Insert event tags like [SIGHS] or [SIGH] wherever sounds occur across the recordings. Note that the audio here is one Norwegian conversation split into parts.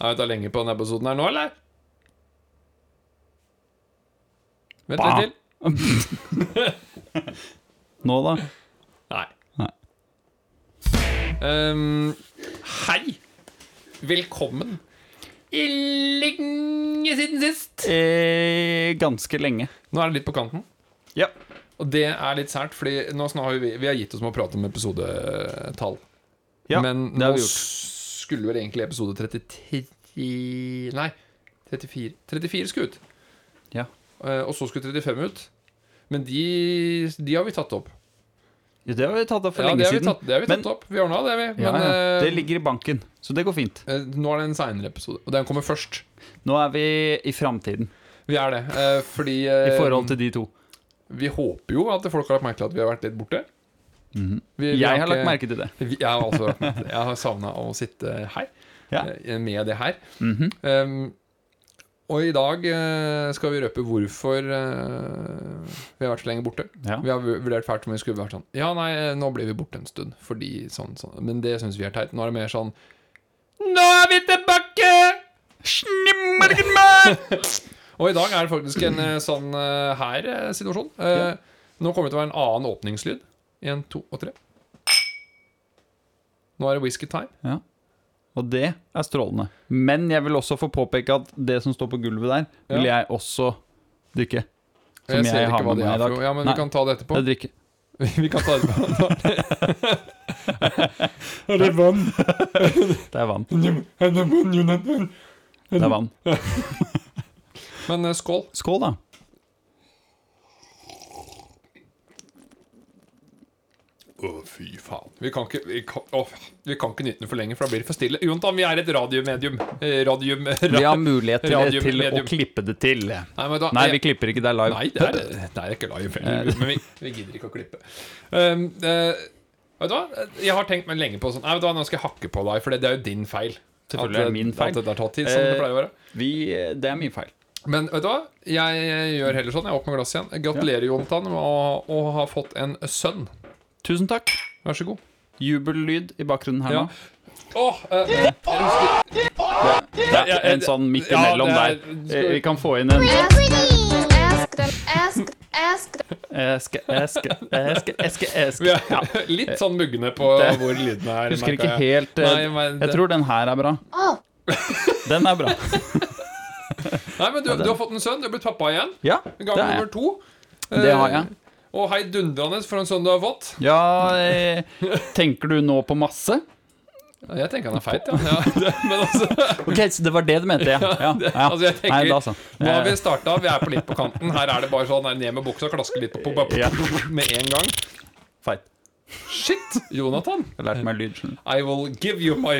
Har vi tatt lenge på denne episoden her nå, eller? Vent Bah. litt til. Nå, da? Nei. Nei. Ehm, hei! Velkommen. I lenge siden sist. Eh, ganske lenge. Nå er det litt på kanten. Ja. Og det er litt sært, fordi nå snak- har vi, vi har gitt oss med å prate om episodetall. Men det har nå vi gjort. skulle vel egentlig episode 33 Nei, 34. 34 skulle ut. Ja. Eh, Og så skulle 35 ut. Men de, de har vi tatt opp. Ja, det har vi tatt opp for ja, lenge det har vi siden. tatt, det har vi tatt Men- opp. Vi ordna det, vi. Ja, Men ja. eh, Det ligger i banken, så det går fint. eh, nå er det en seinere episode. Og den kommer først. Nå er vi i framtiden Vi er det. eh, Fordi i eh, forhold til de to. Vi håper jo at folk har lagt merke til at vi har vært litt borte. Vi- vi Mhm. Jeg har lagt ikke- merke til det. Vi- Jeg har også lagt merke til det. Jeg har savna å sitte her Ja. Mhm. eh, med det her. Um, og i dag eh, skal vi røpe hvorfor eh, vi har vært så lenge borte. Ja. Vi har vu- vurdert fælt om vi skulle vært sånn Ja, nei, eh, nå blir vi borte en stund. Fordi sånn, sånn. Men det syns vi er teit. Nå er det mer sånn Nå er vi tilbake! [LAUGHS] Og i dag er det faktisk en eh, sånn eh, her eh, situasjon. Eh, Nå kommer det til å være en annen åpningslyd. Én, to og tre. Nå er det whisky time. Ja. Og det er strålende. Men jeg vil også få påpeke at det som står på gulvet der, vil Ja. jeg også drikke. jeg, Som jeg ser har ikke hva det med meg i er for dag. noe. Ja, men Nei. vi kan ta [LAUGHS] det etterpå. Jeg drikker. Vi kan ta [LAUGHS] det etterpå. Er det vann? det er vann. Det er vann. Men eh, skål. Skål, da. Å, fy faen. Vi kan ikke, vi kan, å, vi kan ikke nyte den for lenge, for da blir det for stille. Jontan, vi er et radiomedium. Eh, Radium [LAUGHS] Vi har mulighet til, Radium, til å medium. klippe det til. Nei, men da, Nei, vi Eh. jeg- klipper ikke. Det er live. Nei, det er, det er ikke live. heller, Men vi, vi gidder ikke å klippe. Um, eh, vet du hva? Jeg har tenkt meg lenge på sånn Nei, vet du hva, nå skal jeg hakke på deg, for det, det er jo din feil. Selvfølgelig er det min feil. At det har tatt tid, som det Eh, pleier å være. Vi, eh, det er min feil. Men vet du hva? Jeg, gjør heller sånn. Jeg åpner glasset igjen. Gratulerer, Jontan, med å, å ha fått en sønn. Tusen takk. Vær så god. Jubellyd i bakgrunnen her Ja. nå. Åh, eh, Det er ja, en det- sånn midt ja, imellom det er- der. Eh, Vi kan få inn en Ask them, ask them, ask, ask them. Eske, eske, eske, eske, eske. vi er Ja. [LAUGHS] litt sånn mugne på Det- hvor lydene er. Husker merker ikke jeg. helt eh, Nei, men det- Jeg tror den her er bra. Oh, Den er bra. Nei, men du, du har fått en sønn. Du er blitt pappa igjen. Ja, det Gang er nummer jeg. to. eh. Det har jeg. Og hei dundrende for en sønn du har fått. Ja, eh, tenker du nå på masse? Jeg tenker han er feit, ja. [LAUGHS] ja det, men [LAUGHS] altså, Ok, så det var det du mente, [LAUGHS] ja. ja, ja. altså jeg tenker, Nei, da så. Nå har vi Eh, starta, vi er på litt på kanten. Her er det bare sånn ned med buksa, klaske litt på, på, på, Ja. med en gang. Feit. Shit, Jonathan. Jeg lærte meg lyd. skjønner du. I will give you my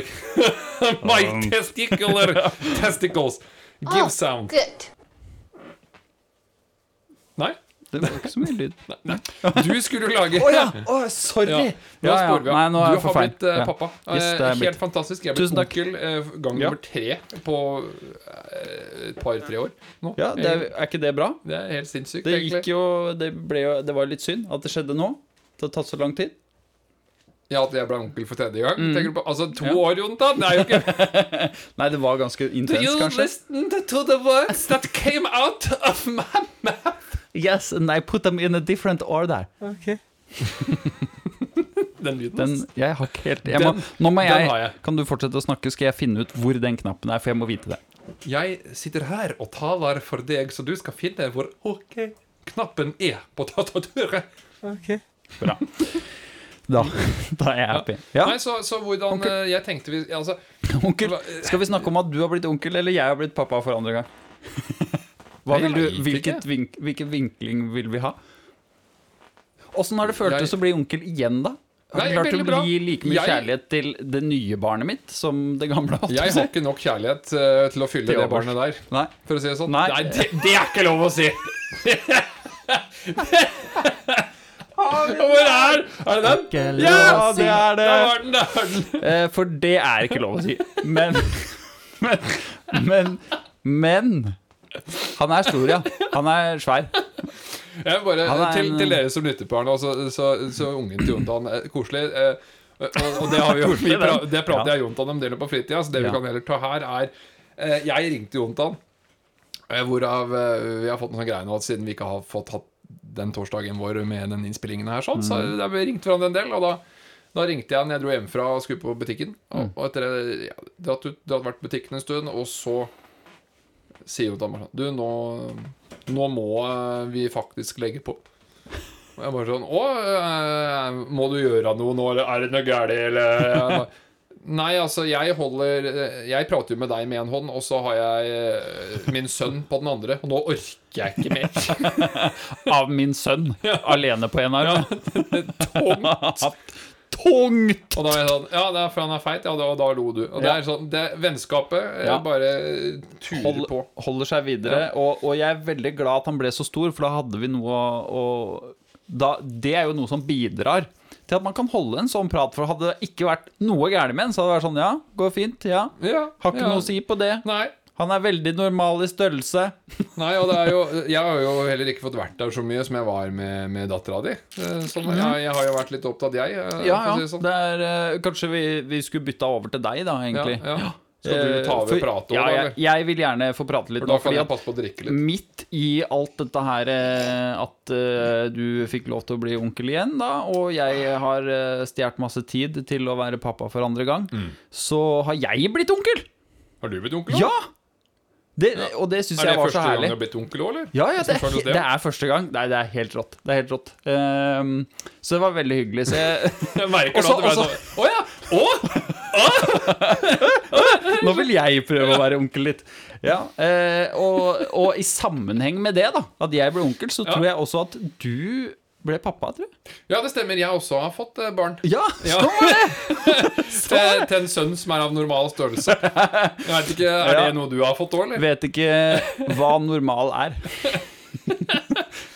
[LAUGHS] My Um. [LAUGHS] testicular testicles. Give oh, sound. Good. Nei? Det var ikke så mye lyd. Å Du skulle jo lage [LAUGHS] sorry! Ja, nå sporer vi av. Nei, nå er du jeg for har feil. blitt eh, Ja. pappa. Yes, Eh, det er Helt blitt- fantastisk. Jeg er Tusen blitt takk. onkel eh, gang Ja. nummer tre på eh, et par-tre år nå. Eh, Ja, det er, er ikke det bra? Det er helt sinnssykt, Det egentlig. gikk jo Det, ble jo, det var litt synd at det skjedde nå. Det har tatt så lang tid. Ja, At jeg ble onkel for tredje gang? Mm. Tenker du på, altså, to år, Jonathan! Det er jo ikke [LAUGHS] Nei, det var ganske intenst, kanskje. listened to the words that came out of my Yes, and I put them in a different order. Den lyden. Den, ass. jeg har ikke helt jeg må, Den- Nå må den jeg, har jeg. Kan du fortsette å snakke, skal jeg finne ut hvor den knappen er, for jeg må vite det. Jeg sitter her og taler for deg, så du skal finne hvor OK-knappen er på tastaturet. [LAUGHS] Bra. Da, da er jeg happy. Ja, Nei, så, så hvordan eh, Jeg tenkte vi Altså, onkel, eh, skal vi snakke om at du har blitt onkel, eller jeg har blitt pappa for andre [LAUGHS] gang? Hva vil du, Jeg vet ikke. hvilket vink, hvilken vinkling vil vi ha? Åssen har det Jeg- føltes å bli onkel igjen, da? Har du Nei, klart veldig å bra. gi like mye Jeg- kjærlighet til det nye barnet mitt som det gamle? holdt jeg jeg på har å si? ikke nok kjærlighet eh, til å fylle Til det overs. barnet der, Nei. for å si det sånn. Nei. det, det er ikke lov å [LAUGHS] si! Hvor er Er det den? lov å si. Der var den, der var den! Eh, For det er ikke lov å si. Men [LAUGHS] Men Men, men han er stor, ja. Han er svær. Jeg vil bare, Han er til, en- til dere som lytter på her nå, så, så, så ungen til Jontan eh, Koselig. Eh, Og, og det har vi jo vi Koselig, den. pra- Det prater Ja. jeg Jontan en del om på fritida, så det vi Ja. kan heller ta her, er eh, Jeg ringte Jontan, eh, hvorav eh, vi har fått en sånn greie nå at siden vi ikke har fått hatt den torsdagen vår med den innspillingen her, sånn, så Mm. da vi ringte hverandre en del, og da da ringte jeg når jeg dro hjemmefra og skulle på butikken. Og, Mm. og etter det, ja, det, hadde, det hadde vært butikken en stund, og så sier jo damer sånn Du, nå, nå må eh, vi faktisk legge på. Og jeg bare sånn Å, eh, må du gjøre noe nå, eller er det noe galt, eller Jeg bare, Nei, altså, jeg holder Jeg prater jo med deg med en hånd, og så har jeg eh, min sønn på den andre, og nå orker jeg ikke mer. [LAUGHS] Av min sønn, alene på en arm. Tungt. Tungt! Og da er jeg sånn Ja, det er for han er feit. Ja, da, og da lo du. Og det Ja. er sånn det, Vennskapet eh, Ja. bare turer Hold, på. holder seg videre. Og, og jeg er veldig glad at han ble så stor, for da hadde vi noe å å- da, Det er jo noe som bidrar til at man kan holde en sånn prat. For hadde det ikke vært noe gærent med den, så hadde det vært sånn Ja, går fint. Ja. Ja, Har ikke ja. noe å si på det. Nei. Han er veldig normal i størrelse. nei, og det er jo Jeg har jo heller ikke fått vært der så mye som jeg var med, med dattera di. Eh, Sånn, jeg, jeg har jo vært litt opptatt, jeg. eh, Ja, for å si ja. det sånn. Det er, eh, kanskje vi, vi skulle bytta over til deg, da, egentlig. Ja, ja. Skal du ta Eh, over for- pratet Ja, òg, jeg, eller? jeg vil gjerne få prate litt For da nå. kan Fordi jeg at passe på å drikke litt. midt i alt dette her eh, at eh, du fikk lov til å bli onkel igjen, da, og jeg har eh, stjålet masse tid til å være pappa for andre gang, Mm. så har jeg blitt onkel! Har du blitt onkel? nå? Ja! Det, Og det syns Er det jeg var første så gang du herlig. har blitt onkel òg, eller? Ja, ja, det Hvordan er, føles he- det? det er første gang. Nei, det er helt rått. Det er helt rått. Ehm, så det var veldig hyggelig. Så jeg [LAUGHS] Jeg merker nå Også- at det ble også- sånn Å ja! Å! Nå vil jeg prøve å være onkel litt. Ja, eh, og, og i sammenheng med det, da, at jeg ble onkel, så tror jeg også at du ble pappa, tror jeg. Ja, det stemmer. Jeg også har fått eh, barn. Ja, Ja. Eh, sånn var det! [LAUGHS] Til, til en sønn som er av normal størrelse. [LAUGHS] Jeg vet ikke, Er Ja. det noe du har fått òg, eller? Vet ikke hva normal er.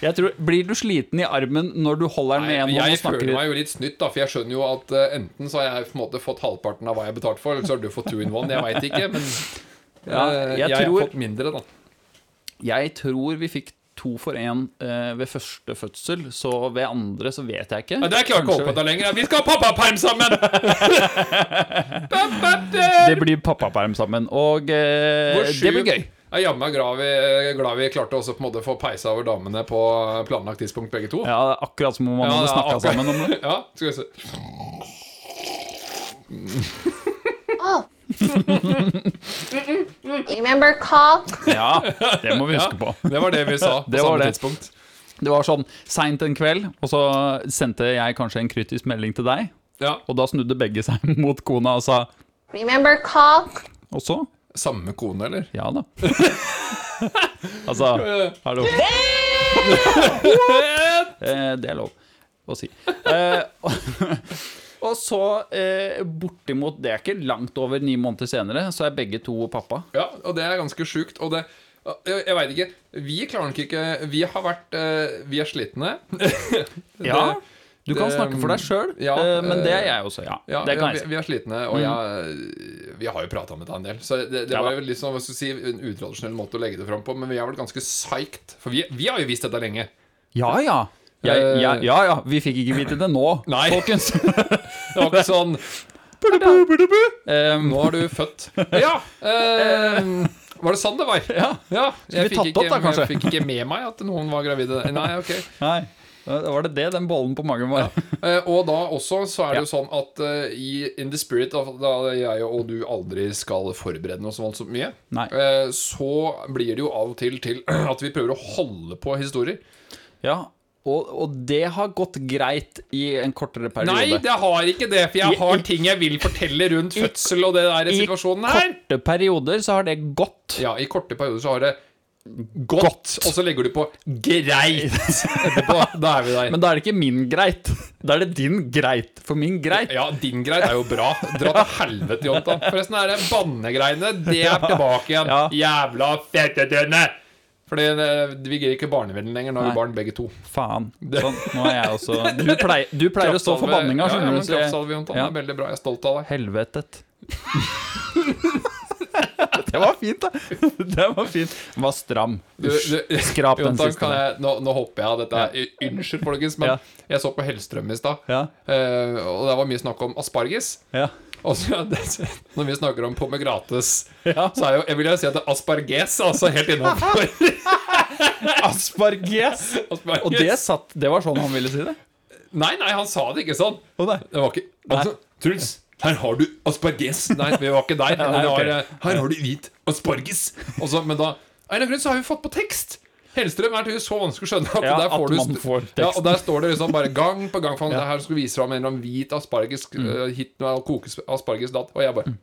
Jeg tror, Blir du sliten i armen når du holder den Nei, med en hånd jeg og snakker føler i meg jo litt snytt, da, for jeg skjønner jo at eh, enten så har jeg på en måte fått halvparten av hva jeg betalte for, eller så har du fått two in one. Jeg veit ikke, men Ja, eh, jeg jeg har tror- fått mindre, da. Jeg tror vi fikk to for én eh, ved første fødsel, så ved andre så vet jeg ikke. Nei, det klarer jeg ikke å Kanskje- holde på da lenger. Vi skal ha pappaperm [LAUGHS] sammen! Det blir pappaperm sammen, og eh, Hvor det blir sju- gøy. Jeg er jammen meg glad vi, glad vi klarte også på en måte å få peisa over damene på planlagt tidspunkt, begge to. Ja, det er akkurat som om man Ja, hadde det er snakka akkurat- sammen om det. Ja, skal vi se. Oh. Remember call? Ja, det må vi huske på. Det var det vi sa på Det var samme det. tidspunkt. Det var sånn seint en kveld, og så sendte jeg kanskje en kryptisk melding til deg. Ja, Og da snudde begge seg [LAUGHS] mot kona og sa Remember call? Og så? Samme kone, eller? Ja da. [LAUGHS] altså Hallo. [LAUGHS] Eh, Det er lov å si. Eh, [LAUGHS] og- Og så, eh, bortimot Det er ikke langt over ni måneder senere, så er begge to pappa. Ja, og det er ganske sjukt. Og det Jeg, jeg veit ikke. Vi klarer nok ikke Vi har vært eh, Vi er slitne. Ja, Du kan det- um, snakke for deg sjøl, ja, eh, men det er eh, jeg også, ja. Ja, Det ja kan jeg vi, si. vi er slitne, og jeg Vi har jo prata med deg en del. Så det, det Ja var da. jo litt sånn, hva skal jeg si, en utradisjonell måte å legge det fram på, men vi har vært ganske psyched. For vi, vi har jo visst dette lenge. Ja ja. Jeg, Eh, ja, ja, ja. Vi fikk ikke vite det [CLEARS THROAT] nå, Nei. [LAUGHS] folkens. Det [LAUGHS] var ikke sånn Um, Nå er du født. Ja! eh, [LAUGHS] var det sånn det var? ja. Ja, jeg vi fikk, tatt ikke, opp da, kanskje? jeg fikk ikke med meg at noen var gravide. Nei, ok. Nei. Da var det det den bollen på magen var. Eh, og da også så er det jo sånn at eh, i In the spirit of da jeg og du aldri skal forberede noe så voldsomt mye, Nei. eh, så blir det jo av og til til [CLEARS THROAT] at vi prøver å holde på historier. Ja, og, og det har gått greit i en kortere periode. Nei, det har ikke det, for jeg I- har ting jeg vil fortelle rundt fødsel og det der I situasjonen her. korte perioder så har det gått. Ja, i korte perioder så har det gått, og så legger du på [LAUGHS] greit etterpå. Da er vi der. Men da er det ikke min greit. Da er det din greit. For min greit. ja, din greit er jo bra. Dra til helvete, Jontan. Forresten, er det bannegreiene. Det er tilbake igjen. Ja. Jævla fetetønne! Fordi eh, vi gir ikke barnevennen lenger. Nå har Nei. vi barn begge to. Faen. Sånn, nå er jeg også Du pleier, du pleier å stå for Kraftsalve- banninga, Ja, skjønner ja, du. men så jeg- Kraftsalve, Jontan. Det Ja. er veldig bra. Jeg er stolt av deg. Helvetet. [LAUGHS] Det var fint, da. Det var fint. Den var stram. Du, du, Skrap den Jonathan, siste kan der. jeg, nå, nå hopper jeg av dette. her. Unnskyld, folkens, men Ja. jeg så på Hellstrøm i stad. Ja. eh, og det var mye snakk om asparges. Ja. Og så, når vi snakker om pomegrates, Ja. så er jo, jeg vil jo si at det er asparges altså helt [LAUGHS] innafor. Asparges! Og det satt Det var sånn han ville si det? Nei, nei, han sa det ikke sånn. Å, nei. Det var ikke altså, Truls, her har du asparges. Nei, vi var [LAUGHS] ikke der. Men Nei, det ok. var, eh, her har du hvit asparges. Og så, men da av en eller annen grunn så har vi fått på tekst. Hellstrøm er tydeligvis så vanskelig å skjønne at, Ja, der får at du man får teksten. Ja, og der står det liksom bare gang på [LAUGHS] gang. For han, Her skulle vise fram en eller annen hvit asparges Mm. eh, hit med kokes asparges datt. Og jeg bare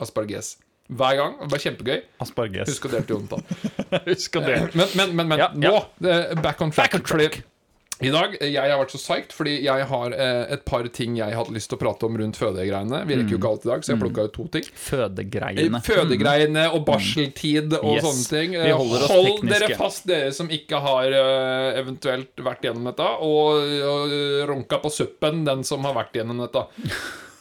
Asparges. Hver gang. Det var kjempegøy. Asparges. Husk å dele til Jonathan. Husk å dele. Men, men, men, men Ja, nå ja. eh, Back on track. Back on track. Fordi I dag, eh, Jeg har vært så psyched fordi jeg har eh, et par ting jeg hadde lyst til å prate om rundt fødegreiene. Vi rekker jo Mm. ikke alt i dag, så jeg plukka ut to ting. Eh, Fødegreiene. Fødegreiene og barseltid og Mm. Yes. sånne ting. Vi Eh, holder oss Hold dere tekniske. fast, dere som ikke har eh, eventuelt vært gjennom dette, og, og eh, runka på suppen, den som har vært gjennom dette.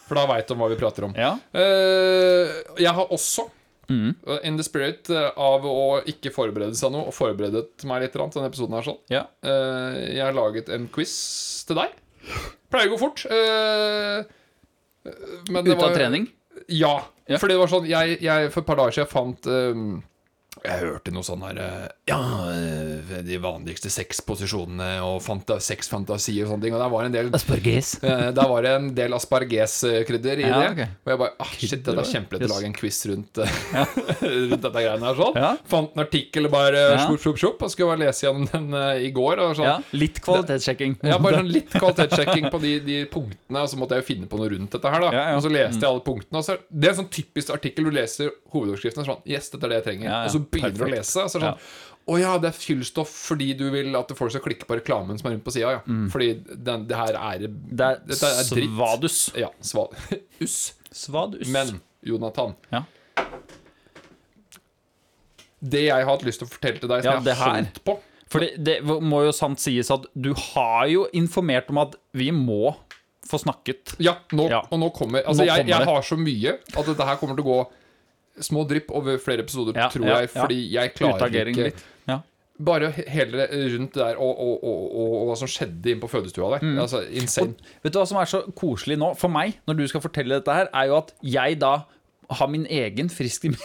For da veit de hva vi prater om. Ja. Eh, jeg har også, Mm. eh, in the spirit eh, av å ikke forberede seg noe, og forberedet meg litt til denne episoden her sånn. ja. Eh, jeg har laget en quiz til deg. Pleier å gå fort. eh, men det Ute av var- trening. Ja. Ja. Fordi det var sånn jeg, jeg, For et par dager siden jeg fant eh, jeg hørte noe sånn her eh, Ja, eh, de vanligste seks posisjonene og fanta, seks fantasier og sånne ting. Og der var en del Asparges. Eh, Der var det en del aspargeskrydder i Ja, det. ok. Og jeg bare ah, Shit, det Krydder, er kjempelett yes. å lage en quiz rundt, eh, [LAUGHS] rundt dette greiene her. sånn Ja. Fant en artikkel bare eh, Ja. sjopp, sjopp, sjopp, og skulle bare lese gjennom den eh, i går. Og sånn Ja. Litt kvalitetssjekking. ja, bare sånn litt kvalitetssjekking på de, de punktene, og så måtte jeg jo finne på noe rundt dette her. da Ja, ja. Mm. Og så leste jeg alle punktene. Og så, det er en sånn typisk artikkel du leser hovedoverskriften, og så sånn Yes, dette er det jeg trenger. Ja, ja. Og så begynner du å Perfekt. lese, og så er det sånn Å ja, det er fyllstoff fordi du vil at folk skal klikke på reklamen som er rundt på sida, ja. Fordi den, det her er [LAUGHS] Mm. Det er, Dette er dritt. svadus. Ja, sval... Uss. Svadus. [LAUGHS] Men, Jonathan Ja. Det jeg har hatt lyst til å fortelle til deg, som Ja, jeg det her. har holdt på Fordi det må jo sant sies at du har jo informert om at vi må få snakket. Ja, nå, Ja. og nå kommer Altså, Nå jeg, kommer det. jeg har så mye at dette her kommer til å gå små drypp over flere episoder, Ja, tror ja, jeg, fordi jeg klarer Utagering ikke litt. Ja. Bare he- hele rundt det der og, og, og, og, og hva som skjedde inne på fødestua der. Mm. Altså, insane. Og vet du hva som er så koselig nå, for meg, når du skal fortelle dette her, er jo at jeg da har min egen friske [LAUGHS]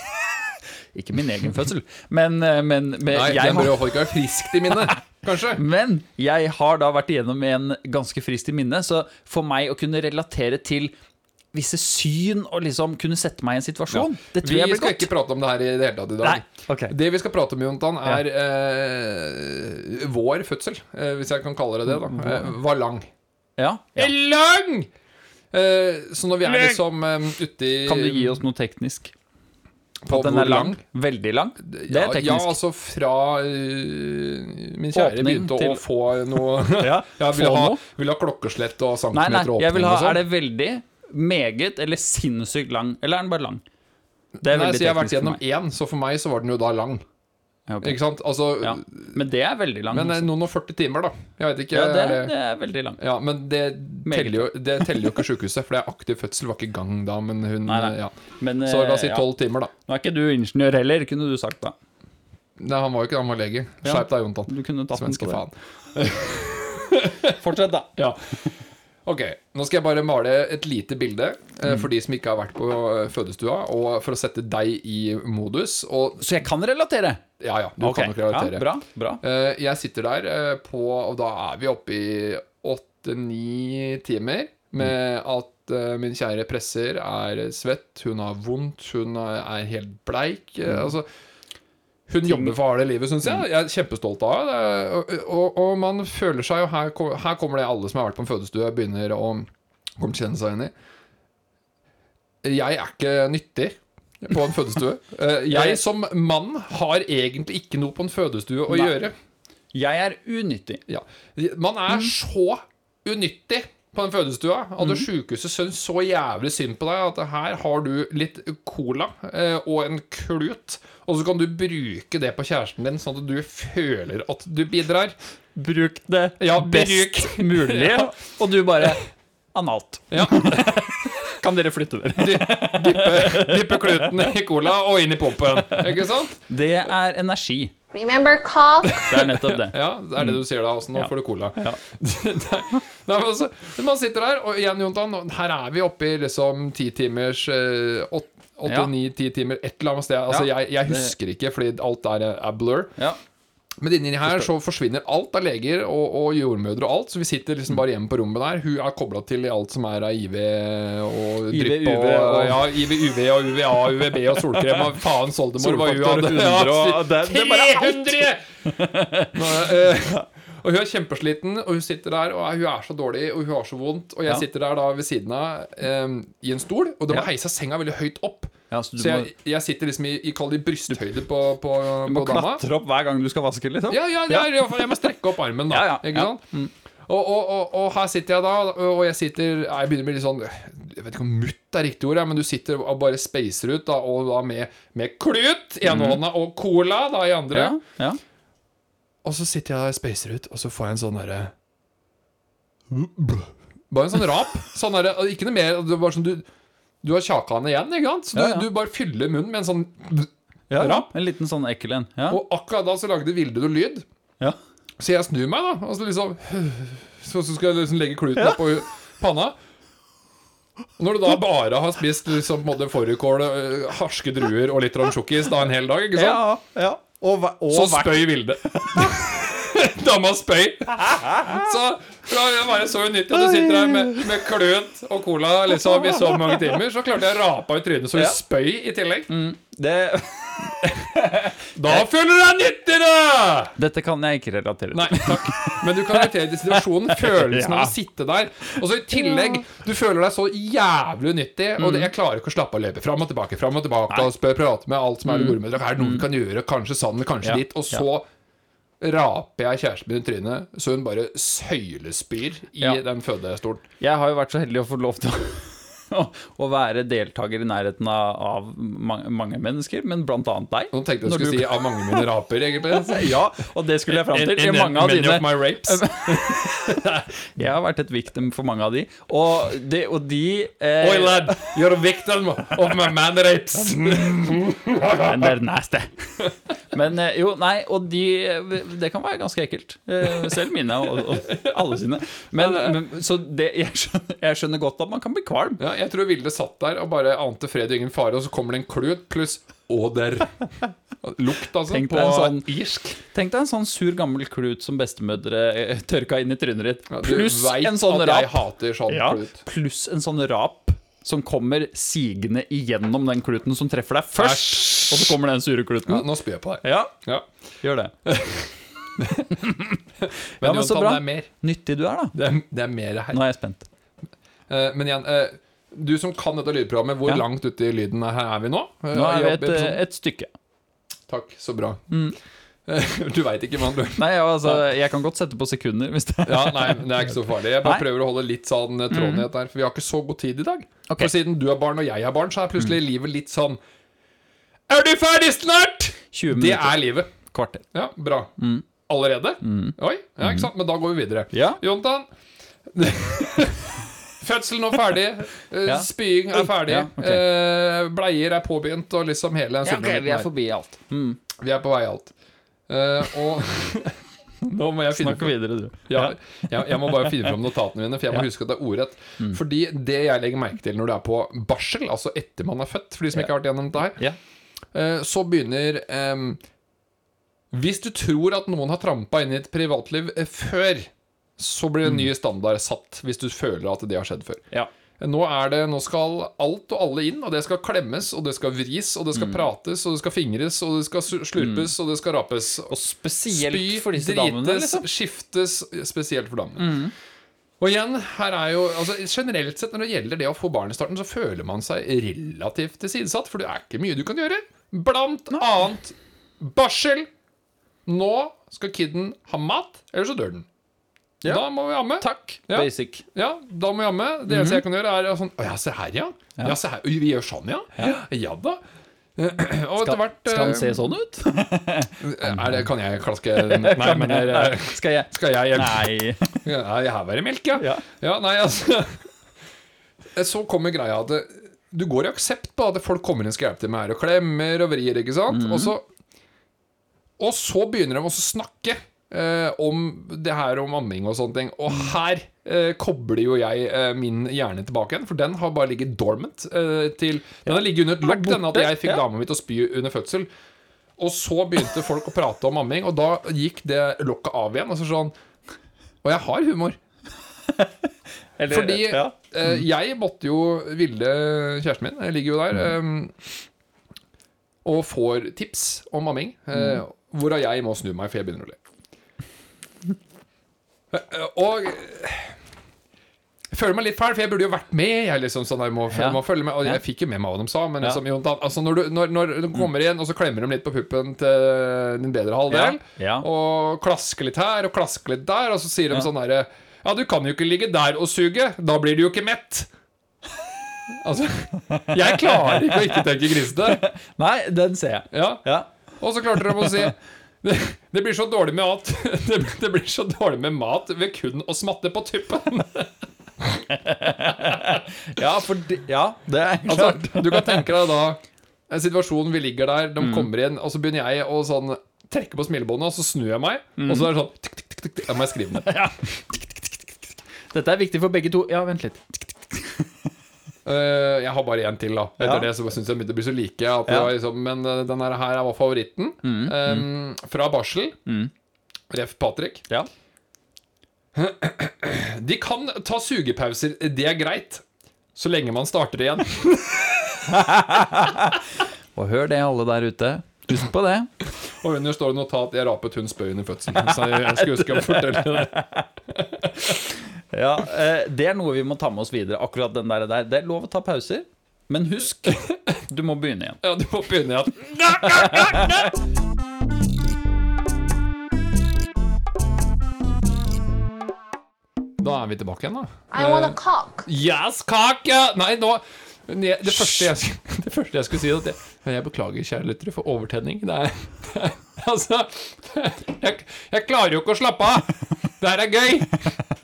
Ikke min egen fødsel, men, eh, men, men Nei, jeg den har bør jo ikke være friskt i minnet, [LAUGHS] kanskje. Men jeg har da vært igjennom en ganske frist i minne, så for meg å kunne relatere til visse syn og liksom kunne sette meg i en situasjon, det tror Vi jeg skal blir godt. ikke prate om det her i det hele tatt i dag. Nei, ok. Det vi skal prate om, Jontan, er eh, vår fødsel, eh, hvis jeg kan kalle det det, da, eh, var lang. Ja, Mm. ja. Lang! Eh, så når vi er Lang! liksom um, ute i Kan du gi oss noe teknisk? på At den hvor er lang? Veldig lang? Det er Ja, ja, teknisk. altså fra øh, min kjære Åpning begynte til- å få noe [LAUGHS] [LAUGHS] Ja, Jeg vil få ha, noe. vil ha klokkeslett og Nei, nei, centimeter åpning jeg vil ha og sånn. Er det veldig, meget eller sinnssykt lang? Eller er den bare lang? Det er Nei, så veldig jeg har vært teknisk for gjennom meg. én, så for meg så var den jo da lang. Ja, ok. Ikke sant? Altså Ja. Men det er veldig lang. Men eh, altså. noen og 40 timer, da. Jeg vet ikke. ja, det, er det- det er veldig lang. ja, men det Meget. teller, jo, det teller jo ikke sjukehuset, for det er aktiv fødsel, var ikke i gang da, men hun Nei, nei. eh, Ja. Men, Så la oss si eh, ja. tolv timer, da. Nå er ikke du ingeniør heller, kunne du sagt da. Nei, han var jo ikke det, han var lege. Ja. Skjerp deg, Jontan. Du kunne tatt den Svenske på det. faen. Fortsett, da. Ok, nå skal jeg bare male et lite bilde Mm. eh, for de som ikke har vært på eh, fødestua, og for å sette deg i modus. Og Så jeg kan relatere? ja, ja, du Ok, kan nok relatere. Ja, bra, bra. Eh, jeg sitter der eh, på Og da er vi oppe i åtte-ni timer med at eh, min kjære presser er svett, hun har vondt, hun er er helt bleik. eh, altså hun jobber for harde livet, syns jeg. Jeg er kjempestolt av det. Og, og, og man føler seg jo her, kom- her kommer det alle som har vært på en fødestue, begynner å kommer til å kjenne seg igjen i. Jeg er ikke nyttig på en fødestue. Eh, Jeg som mann har egentlig ikke noe på en fødestue å Nei. gjøre. Jeg er unyttig. Ja. Man Mm. er så unyttig på den fødestua at sjukehuset syns så jævlig synd på deg at her har du litt cola eh, og en klut, og så kan du bruke det på kjæresten din, sånn at du føler at du bidrar. Bruk det Ja, best bruk. [LAUGHS] [LAUGHS] mulig, Ja. og du bare Analt. Ja. Kan dere flytte dere? Dyppe, dyppe kluten i cola og inn i pumpen. Ikke sant? Det er energi. Remember cough. Det er nettopp det. Ja, det er det du sier da. Også. Nå Mm. Ja. får du cola. [LAUGHS] Ja. Nei, nei, men altså, man sitter her, og igjen, Jontan, her er vi oppe i liksom ti timers eh, åt- Åtte, Ja. ni, ti timer, et eller annet sted. Altså, Ja. jeg, jeg husker ikke, fordi alt er, er blur. Ja. Men inni her så forsvinner alt av leger og, og jordmødre og alt, så vi sitter liksom bare hjemme på rommet der. Hun er kobla til i alt som er av IV og IV, drypp og, UV og- Ja, IV, UV og UVA, UVB og solkrem og faen soldemor hva hun Solfaktor hadde. 100 og- det- det er bare alt. 300! [LAUGHS] Nå, eh, og hun er kjempesliten, og hun sitter der, og hun er så dårlig, og hun har så vondt. Og jeg Ja. sitter der da ved siden av eh, i en stol, og det Ja. var heisa senga veldig høyt opp. Ja, så du Så må- jeg, jeg sitter liksom i, i kall det brysthøyde på, på, Du må på dama. klatre opp hver gang du skal vaske, liksom. Ja, ja, ja, i hvert fall, jeg må strekke opp armen, da. Ja, ja, ikke ja. Mm. sant? Og, og, og, og her sitter jeg da, og jeg sitter Jeg begynner å bli litt sånn Jeg vet ikke om mutt er riktig ord, jeg, men du sitter og bare spacer ut, da, og da med, med klut i ene hånda og cola da i andre. Mm. Ja, ja. Og så sitter jeg der og spacer ut, og så får jeg en sånn derre Bare en sånn rap. Sånn derre og Ikke noe mer. Det er bare sånn du du har kjakan igjen, ikke sant? Så du, Ja, ja. du bare fyller munnen med en sånn ja. Rapp. En liten sånn ekkel en. Ja. Og akkurat da så lagde Vilde noe lyd. Ja. Så jeg snur meg, da. Og så liksom [SIGHS] Så, så skal jeg liksom legge kluten opp på panna. Når du da bare har spist liksom, på en måte fårikål, øh, harske druer og litt sjokkis da en hel dag, ikke sant? Ja, ja. Og, hva- og Så hva- spøy Vilde. [LAUGHS] Dama spøy. Så da var jeg bare så unyttig at du sitter her med, med klut og cola liksom, i så mange timer. Så klarte jeg å rape av i trynet så hun Ja. Mm. spøy i tillegg. det, [LAUGHS] Da føler du deg nyttig, da! Dette kan jeg ikke relatere til. Nei, takk. Men du kan relatere til [LAUGHS] situasjonen, følelsen av Ja. å sitte der. Og så i tillegg, du føler deg så jævlig unyttig, og Mm. det, jeg klarer ikke å slappe av og løpe fram og tilbake, fram og tilbake, og spør, prate med alt som er jordmødre, er det noe vi kan gjøre, kanskje sånn, kanskje Mm. Ja. dit, og så raper jeg kjæresten min i trynet, så hun bare søylespyr i Ja. den fødestolen. Jeg har jo vært så heldig å få lov til å, [LAUGHS] å være deltaker i nærheten av, av mange, mange mennesker, men blant annet deg. Og nå tenkte jeg Når skulle du- si av mange mine raper, [LAUGHS] egentlig. Ja, [LAUGHS] og det skulle jeg fram til. I mange av many dine of my [LAUGHS] rapes. Jeg har vært et victim for mange av de. Og de, og de eh, Oi, lad, you're a victim of my man [LAUGHS] rapes. Men det er nasty. [LAUGHS] Men eh, jo, nei, og de Det kan være ganske ekkelt. Eh, Selv mine og, og alle sine. Men, men så det, jeg, skjønner, jeg skjønner godt at man kan bli kvalm. Ja, jeg tror Vilde satt der og bare ante fred og ingen fare, og så kommer det en klut pluss åder. Lukt, altså. Tenk på deg en sånn- irsk. Tenk deg en sånn sur, gammel klut som bestemødre eh, tørka inn i trynet ditt. Ja, du Pluss vet en sånn at jeg rap. hater sånn Ja, klut. pluss en sånn rap som kommer sigende igjennom den kluten som treffer deg først. Og så kommer den sure Ja, kluten. nå spyr jeg på deg. Ja, Ja. gjør [LAUGHS] det. Men, men så Jonathan, bra. det er mer. Nyttig du er, da. Det er, det er mer her. Nå er jeg spent. Eh, men igjen, eh, du som kan dette lydprogrammet, hvor Ja. langt ute i lyden er- her er vi nå? Eh, Nå er vi jobb- et, mm. episode- et stykke. Takk, så bra. Eh, [LAUGHS] du veit ikke, mann. Nei, ja, altså, jeg kan godt sette på sekunder hvis det Ja, nei, men det er ikke så farlig. Jeg bare Nei. Mm. prøver å holde litt sånn eh, tråden i dette her, for vi har ikke så god tid i dag. Ok. Mm. For siden du er barn og jeg er barn, så er plutselig livet litt sånn Er du ferdig snart?! Det 20 minutter. er livet. Kvarter. Ja, bra. Allerede? Oi, ja, ikke sant? Men da går vi videre. Mm. Ja. [LAUGHS] Jontan. Fødselen er ferdig. eh, Ja. Spying er ferdig. Ja, ok. eh, Bleier er påbegynt, og liksom hele den sulamitten her. forbi alt. Mm. Vi er på vei i alt. Eh, [LAUGHS] og Nå må jeg finne Snakk videre, du. [LAUGHS] ja, jeg, jeg må bare finne fram notatene mine, for jeg må huske at det er ordrett. Mm. Fordi det jeg legger merke til når det er på barsel, altså etter man er født, for de som ikke har vært gjennom dette her, Ja. eh, så begynner em, Hvis du tror at noen har trampa inn i et privatliv eh, før, så blir Mm. en ny standard satt, hvis du føler at det har skjedd før. Eh, Ja. Nå, er det, nå skal alt og alle inn, og det skal klemmes, og det skal vris, og det skal Mm. prates, og det skal fingres, og det skal su- slurpes, og det skal rapes. Og spesielt Spy, for disse drites, damene, liksom. Mm. skiftes, spesielt for damene. Og igjen, her er jo altså, Generelt sett når det gjelder det å få barn i starten, så føler man seg relativt tilsidesatt, for det er ikke mye du kan gjøre. Blant annet barsel. Nå skal kiden ha mat, eller så dør den. Ja. Da må vi amme. Takk. Ja. Basic. Mhm. Ja, da må jeg amme. Det eneste jeg kan gjøre, er sånn Å ja, se her, ja. ja. se her. Vi gjør sånn, ja. Ja, da. [CLEARS THROAT] Og etter hvert Skal han eh, se sånn ut? er det, Kan jeg klaske [LAUGHS] Nei, [LAUGHS] men eh, jeg, Skal jeg skal jeg hjelpe? Nei. Ja, her var det melk, ja. Ja. ja. Nei, altså så kommer greia at det- du går i aksept på at folk kommer inn og skal hjelpe til med her og klemmer og vrir, ikke sant? Og, så, og så begynner de også å snakke eh, om det her om amming og sånne ting. Og her eh, kobler jo jeg eh, min hjerne tilbake igjen, for den har bare ligget dormant. Eh, til, den har ligget under et lokk, denne at jeg fikk ja. dama mi til å spy under fødsel. Og så begynte folk å prate om amming, og da gikk det lokket av igjen. Og så sånn Og jeg har humor. Eller, Fordi ja. eh, jeg måtte jo Vilde, kjæresten min, jeg ligger jo der Mm. eh, og får tips om amming. eh, Mm. Hvorav jeg må snu meg, for jeg begynner å le. Eh, eh, Og jeg føler meg litt fæl, for jeg burde jo vært med. Jeg liksom sånn der, må, Ja. må følge med Og Ja. jeg fikk jo med meg hva de sa, men Ja. Mm. liksom, Jon, da- altså, når, du, når, når du kommer igjen, og så klemmer de litt på puppen til din bedre halvdel, Ja. Ja. og klasker litt her og klasker litt der, og så sier de sånn derre Ja, du kan jo ikke ligge der og suge. Da blir du jo ikke mett. Altså Jeg klarer ikke å ikke tenke grisete. Nei, den ser jeg. Ja. Ja. Og så klarte de å si det, det blir så dårlig med mat det, [LAUGHS] det blir så dårlig med mat ved kun å smatte på tuppen. Ja, for de, ja, det er klart. Altså, du kan tenke deg da en situasjon vi ligger der, de kommer inn, og så begynner jeg å sånn trekke på smilebåndet, og så snur jeg meg, og så er det sånn tikk, tikk, tikk, tikk, tikk, Da må jeg skrive ned. Dette er viktig for begge to. Ja, vent litt. Eh, jeg har bare én til, da. Etter Ja. det så syns jeg begynte å bli så like. At det Ja. var liksom, men eh, denne her var favoritten. eh, fra barsel. Ref. Patrick. Ja. De kan ta sugepauser, det er greit. Så lenge man starter igjen. Og hør det, alle der ute. Husk på det. Og under står det notat 'Jeg rapet hun spøy under fødselen'. Så jeg skulle huske å fortelle det. Ja, eh, Det er noe vi må ta med oss videre. Akkurat den der, der. Det er lov å ta pauser, men [LAUGHS] husk, du må begynne igjen. Ja, du må begynne igjen. Da er vi tilbake igjen, da. I want a cock. Yes, kake! Nei, nå ne- det første, jeg, sk- det første jeg skulle [LAUGHS] si er at jeg, jeg beklager, kjære lyttere, for overtenning. Det er, [LAUGHS] det er, altså [LAUGHS] jeg, jeg klarer jo ikke å slappe av! Det her er gøy!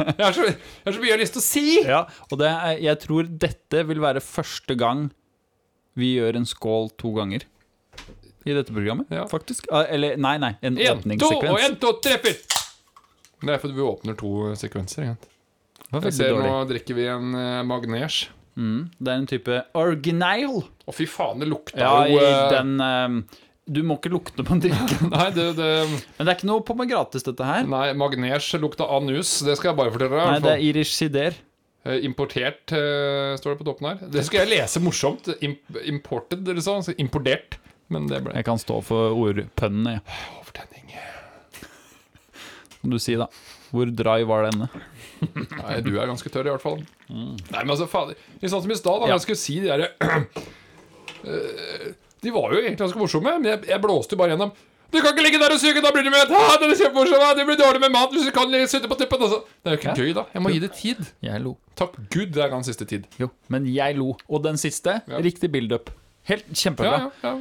Jeg har så, jeg har så mye jeg har lyst til å si! Ja, og det er, Jeg tror dette vil være første gang vi gjør en skål to ganger i dette programmet, Ja. faktisk. Ah, Eller nei, nei, en Én, to og åpningssekvens. én, to, tre, fire! Det er fordi vi åpner to eh, sekvenser. Egentlig. Det var Jeg veldig ser Nå dårlig. drikker vi en eh, magnesj. Det er en type original. Å, fy faen, det lukta Ja, i jo eh, den eh, Du må ikke lukte på en drikke. [LAUGHS] Nei, det, det, Men det er ikke noe på meg gratis, dette her. nei magnesj lukta anus. Det skal jeg bare fortelle deg. i Nei, hvert det fall. er Irish sider. Eh, Importert, eh, står det på toppen her. Det skulle jeg lese morsomt. Imp imported, eller sånn. Så importert. Men det ble Jeg kan stå for ordpønnene, jeg. overtenning. Kan du si, da. Hvor dry var denne? Nei, du er ganske tørr, i hvert fall. Nei, men altså, fader. Litt sånn som i stad, da. Ja. Jeg skulle si [CLEARS THROAT] de derre De var jo egentlig ganske morsomme, men jeg, jeg blåste jo bare gjennom. Du kan ikke ligge der og suge, da blir du med! Ha, det er kjempemorsomt! ha, Det blir dårlig med mat hvis du kan sitte på tuppen! Altså. Det er jo ikke gøy, da. Jeg må gi det tid. Jeg lo. Takk Gud det er ganske siste tid. Jo, men jeg lo. Og den siste, Ja. riktig build-up. Helt Ja, kjempebra. ja, ja.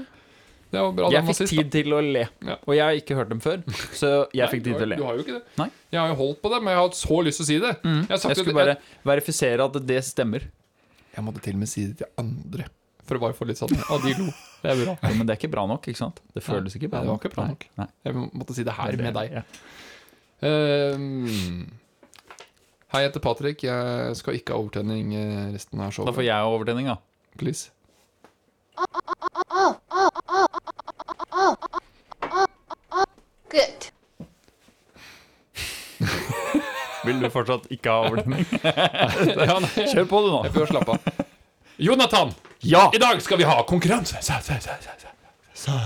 Det var bra. Jeg den var fikk sist, da. tid til å le, Ja. og jeg har ikke hørt dem før. Så jeg fikk Nei, du tid til å har- Du le. har jo ikke det. Nei. Mm. Jeg har jo holdt på det, men jeg har hatt så lyst til å si det. Jeg, har sagt Jeg at- skulle bare verifisere at det stemmer. jeg, jeg måtte til og med si det til andre, for å bare få litt sånn Og de lo. Det er bra. Jo, men det er ikke bra nok, ikke sant? Det [LAUGHS] føles ikke bra det var nok. ikke bra nok. Nei. Jeg måtte si det her Det- med deg. ja. Ehm, hei, jeg heter Patrick. Jeg skal ikke ha overtenning eh, resten av Da showet. får jeg overtenning, da. [LAUGHS] Please. Good. Vil du fortsatt ikke ha overtenning? [LAUGHS] Ja, nei, jeg Kjør på, du, nå. prøver å slappe av. Jonathan! Ja! I dag skal vi ha konkurranse! Sa, sa, sa, sa, sa.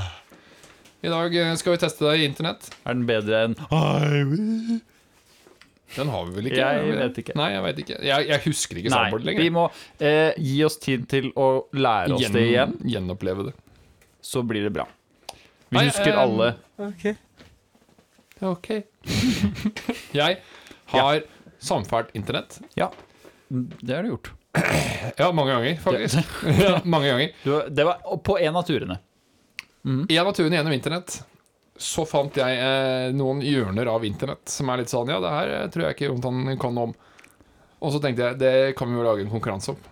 I dag eh, skal vi teste deg i internett. Er den bedre enn Den har vi vel ikke? Jeg har vi det? vet ikke. Nei, jeg vet ikke. Jeg, jeg husker ikke Nei, soundboard lenger. vi må eh, gi oss tid til å lære oss det igjen, Gjen- Gjenoppleve det. så blir det bra. Vi Nei, husker eh, alle Ok. [LAUGHS] jeg har samfært internett. Ja, Mm, det har du gjort. Ja, mange ganger, faktisk. [LAUGHS] ja, mange ganger. Du, det var på en av turene. En av turene gjennom internett så fant jeg eh, noen hjørner av internett som er litt sånn Ja, det her eh, tror jeg ikke Jonathan kan om. Og så tenkte jeg det kan vi jo lage en konkurranse om.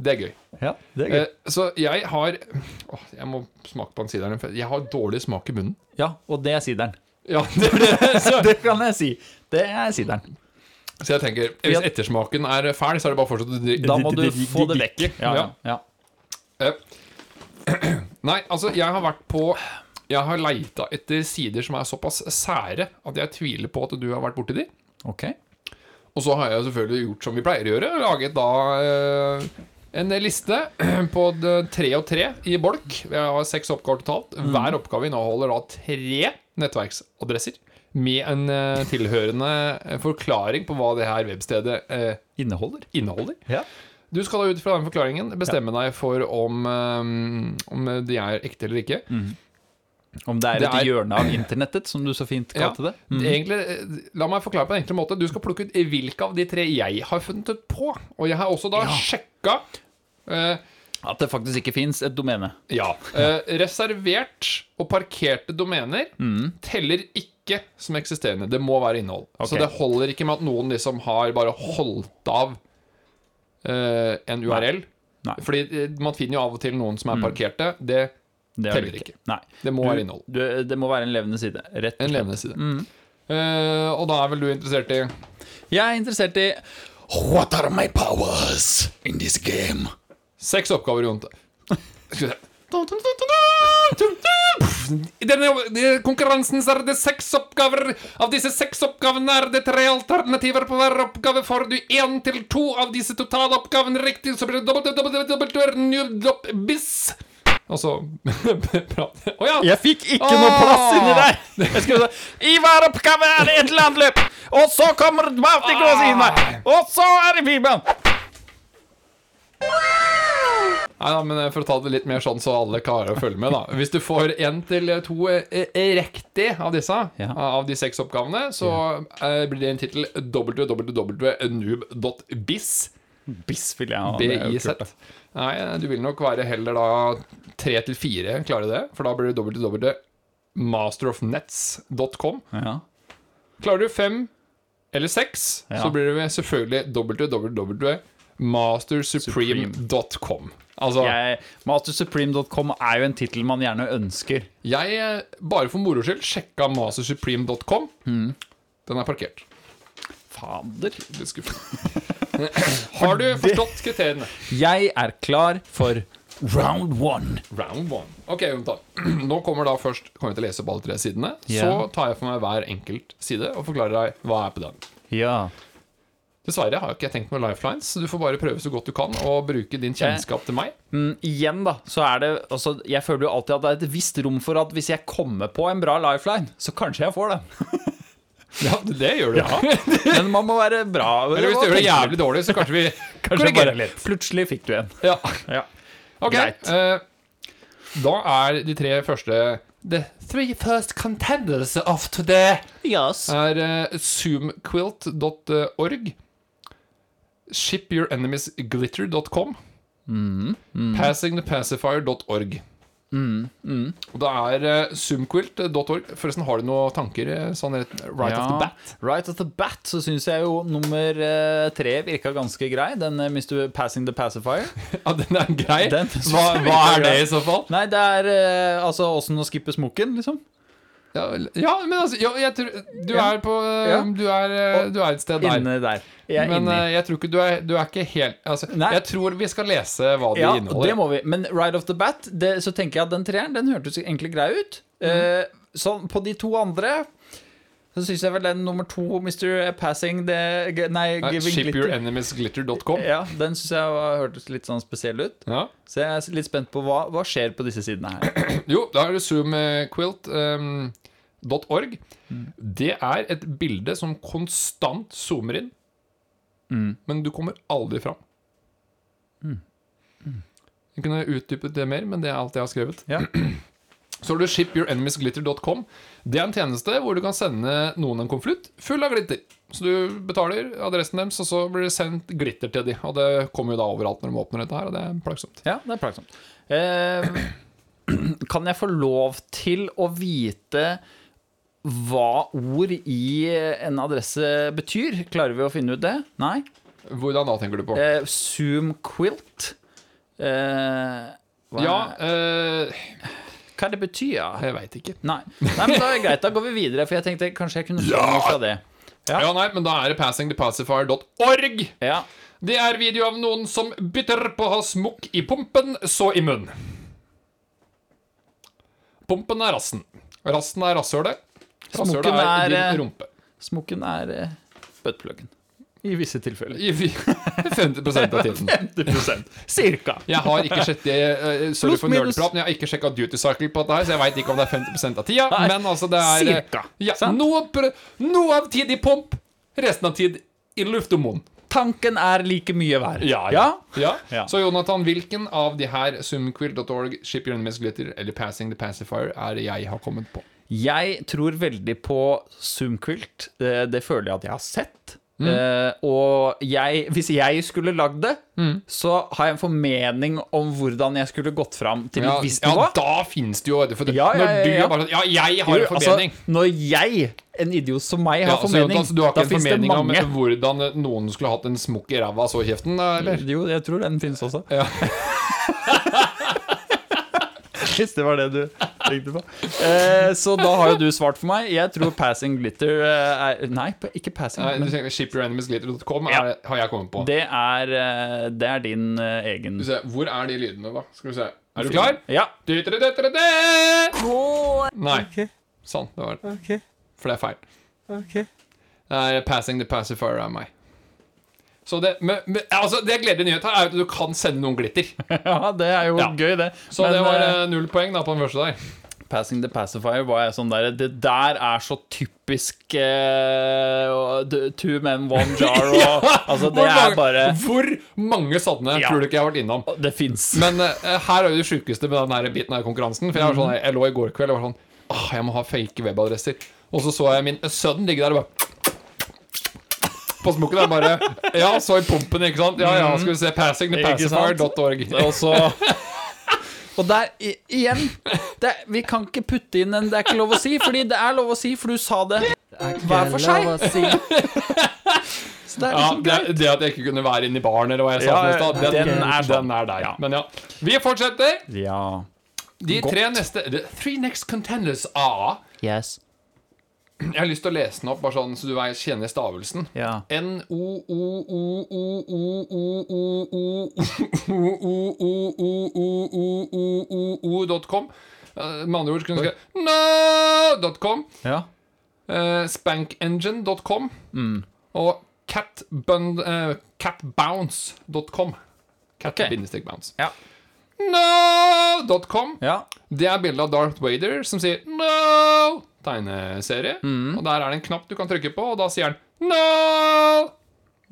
Det er gøy. Ja, det er gøy. Eh, så jeg har Åh, Jeg må smake på den sideren. for Jeg har dårlig smak i munnen. Ja, og det er sideren. Ja, det blir det kan jeg si. Det er sideren. Så jeg tenker, hvis ettersmaken er fæl, så er det bare å fortsette å drikke. Da må du få det vekk. Ja, ja. Ja. ja. [CLEARS THROAT] Nei, altså, jeg har vært på Jeg har leita etter sider som er såpass sære at jeg tviler på at du har vært borti de. Ok. Og så har jeg selvfølgelig gjort som vi pleier å gjøre, laget da eh, en liste [CLEARS THROAT] på d- tre og tre i bolk. Vi har seks oppgaver totalt. Mm. Hver oppgave inneholder da tre nettverksadresser med en eh, tilhørende forklaring på hva det her webstedet eh, Inneholder. inneholder. Ja. Du skal da ut fra den forklaringen bestemme deg for om, eh, om de er ekte eller ikke. Mm. Om det er Det et er- hjørne av internettet, som du så fint Ja. kalte det. Mm. Egentlig, eh, la meg forklare på en enkel måte. Du skal plukke ut hvilke av de tre jeg har funnet ut på. Og jeg har også da sjekka eh, At det faktisk ikke fins et domene. ja, eh, reservert og parkerte domener teller ikke som eksisterende. Det må være innhold. Mm. Ok. Så det holder ikke med at noen liksom har bare holdt av eh, en URL. Nei. Mm. Fordi eh, man finner jo av og til noen som er parkerte. Det, Det er det Teller ikke. Nei. det må være innhold. Du, det må være en levende side. Rett og En slett. levende side. Eh, og da er vel du interessert i Jeg er interessert i What are my powers in this game? Seks oppgaver, Jon. Skal vi se. I denne jobb- konkurransen så er det seks oppgaver. Av disse seks oppgavene er det tre alternativer på hver oppgave. Får du én til to av disse totale oppgavene riktig, så blir det dobbelt, dobbelt, dobbelt, dobbelt, dobbelt, dobbelt biss. Og så prat Å ja! Jeg fikk ikke noe Åh! plass inni der! [LAUGHS] Jeg skulle I hver oppgave er det et eller annet løp! Og så kommer Mauti Claus inn der! Og så er det filmen! Nei, da, men eh, For å ta det litt mer sånn så alle klarer å følge med, da. Hvis du får én til to eh, eh, riktig av disse, Ja. av de seks oppgavene, så eh, blir det en tittel www.noob.biz. Biss vil jeg ha. det er jo BIZ. kult, da. Nei, eh, du vil nok være heller da tre til fire, klare det. For da blir det www.masterofnets.com. altså, Ja. Klarer du fem eller seks, Ja. så blir det selvfølgelig www.mastersupreme.com. Altså Jeg- Mastersupreme.com er jo en tittel man gjerne ønsker. Jeg, eh, bare for moro skyld, sjekka mastersupreme.com. Den er parkert. Fader. Litt skuffende. Har du forstått kriteriene? Jeg er klar for round one. Round one. Ok, Jonathan. [CLEARS THROAT] Nå kommer da først kommer jeg til å lese på alle tre sidene. Ja. Så tar jeg for meg hver enkelt side og forklarer deg hva er på den. Ja. Dessverre har jeg ikke tenkt med lifelines, så du får bare prøve så godt du kan å bruke din kjennskap til meg. Mm, igjen, da, så er det altså, Jeg føler jo alltid at det er et visst rom for at hvis jeg kommer på en bra lifeline, så kanskje jeg [LAUGHS] får den. Ja, det gjør du. Ja. Men man må være bra. Eller hvis du gjør [LAUGHS] det jævlig dårlig, så kanskje vi Kanskje korrigerer bare Plutselig fikk du en. Ja. Ja. Ok, Greit. eh, da er de tre første The three first contenders of today Yes. er eh, zoomquilt.org, shipyourenemiesglitter.com, Mm, passingthepacifier.org. mm. Og det er eh, zoomquilt.org. Forresten, har du noen tanker eh, sånn rett, right off the bat? [LAUGHS] Right off the bat så syns jeg jo nummer eh, tre virka ganske grei. Den eh, Mr. Passing the [LAUGHS] Pacifier. Ja, den er grei. Den- hva, hva er det i så fall? Nei, det er eh, altså åssen å skippe smokken, liksom. Ja, ja men altså ja, jeg tror, Du Ja. er på eh, Ja. du, er, eh, du er et sted der. Inne der. Jeg er Men inni. eh, jeg tror ikke du er, du er ikke helt altså, Nei. Jeg tror vi skal lese hva det Ja, inneholder. det må vi. Men right off the bat det, så tenker jeg at den treeren den hørtes egentlig grei ut. Mm. Eh, sånn på de to andre så syns jeg vel den nummer to, Mr. Passing the g- Nei, Nei, Giving Glitter. Shipyourenemiesglitter.com. Ja, den syns jeg var, hørtes litt sånn spesiell ut. Ja. Så jeg er litt spent på hva, hva skjer på disse sidene her. Jo, da er det zoomquilt.org. Det er et bilde som konstant zoomer inn, men du kommer aldri fram. Jeg kunne utdypet det mer, men det er alt jeg har skrevet. Ja. [CLEARS THROAT] Så har du shipyourenemiesglitter.com. Det er en tjeneste hvor du kan sende noen en konvolutt full av glitter. Så du betaler adressen deres, og så blir det sendt glitter til de. Og det kommer jo da overalt når de åpner dette her, og det er plagsomt. Ja, det er plagsomt. Eh, [CLEARS THROAT] kan jeg få lov til å vite hva ord i en adresse betyr? Klarer vi å finne ut det? Nei? Hvordan da, tenker du på? Eh, Zoom Quilt. Eh, hva, Ja, eh, hva det betyr? jeg veit ikke. Nei. Nei, men da er det greit. Da går vi videre, for jeg tenkte kanskje jeg kunne få noe fra det. Ja. Ja, nei, men da er det passingthepacifier.org. Ja. Det er video av noen som bytter på å ha smokk i pumpen, så i munnen. Pumpen er rassen. Rassen er rasshølet. Rasshølet Smokken er er, eh, din rumpe. Smokken er eh, buttpluggen. I visse tilfeller. I vi- [LAUGHS] 50 av tiden. 50 Cirka. Jeg har ikke sjekket det, eh, sorry Pluss for minus. nerdprat, men jeg har ikke sjekka duty cycle på dette her, så jeg veit ikke om det er 50 av tida. Nei, Men altså, det er eh, cirka, Ja, sant? noe, pr- noe av tid i pump, resten av tid i luft og munn. Tanken er like mye hver. Ja, ja. ja. ja. Ja. Så Jonathan, hvilken av de her Sumquill.org, Ship Your Enemies Glitter eller Passing the Pacifier er det jeg har kommet på? Jeg tror veldig på Zoomquilt. Eh, Det føler jeg at jeg har sett. Mm. Eh, og jeg, hvis jeg skulle lagd det, Mm. så har jeg en formening om hvordan jeg skulle gått fram til Ja, et visst ja nivå. da finnes det jo for det, Ja, ja, ja, Når du ja. er bare sånn Ja, jeg har Jo, en formening. Altså, når jeg, en idiot som meg, har ja, så formening, Jonathan, så du har ikke da en fins det formening om mange. hvordan eh, noen skulle hatt en smokk i ræva og så i kjeften? da, Eller? [LAUGHS] Jo, jeg tror den finnes også. Ja. [LAUGHS] Hvis det var det du tenkte på. Eh, så da har jo du svart for meg. Jeg tror Passing Glitter eh, er Nei, p- ikke Passing. Nei, du Men tenker Shipyourenemiesglitter.com er- Ja. har jeg kommet på. det er, eh, det er din eh, Skal egen vi se, Hvor er de lydene, da? Skal vi se. Er du klar? Ja. Du-du-du-du-du-du! Nei. Ok, Sånn. Det var det. ok, For det er feil. ok. Det er passing the pacifier av meg. Så det, men, men, altså, det gledelige nyhet her er jo at du kan sende noen glitter. [LAUGHS] ja, det er jo Ja. gøy, det. Så Men, det var eh, eh, null poeng da på den første der. Passing the Pacifier var jeg sånn der Det der er så typisk eh, og- d- Two men, [LAUGHS] one jar og, Altså, det Hvor er mange, bare hvor mange sånne Ja. tror du ikke jeg har vært innom? Det fins. Men eh, her er jo det sjukeste med den her biten av konkurransen. For jeg, var sånn, Mhm. jeg lå i går kveld og var sånn Åh, jeg må ha fake webadresser. Og så så jeg min sønn ligge der og bare På smokken der bare Ja, så i pumpen, ikke sant? Ja, ja, skal vi se. Passing the Mhm. Ikke sant? pacifier.org. [LAUGHS] Og så Og der, i- igjen det, er- Vi kan ikke putte inn en 'det er ikke lov å si', fordi det er lov å si, for du sa det hver for seg. [LAUGHS] Så det er Ja, liksom det, greit. det at jeg ikke kunne være inne i baren, eller hva jeg sa, Ja, for noe i stad, den, den er sånn. den er der. Ja. Men ja. Vi fortsetter. Ja. De tre neste the Three next contenders A. Yes. Jeg har lyst til å lese den opp, bare sånn så du vet- kjenner stavelsen. Ja. N-o-o-o-o-o-o-o-o-o-o-o-o-o-o-o-o-o.com. Med andre ord så kunne du skrevet no.com, Ja. eh, spankengine.com og catbund- eh, catbounce.com. Ok. Cat-bounce. Ja. No.com. ja. Det er bildet av Darth Vader som sier No! Tegneserie. Og der er det en knapp du kan trykke på, og da sier han No!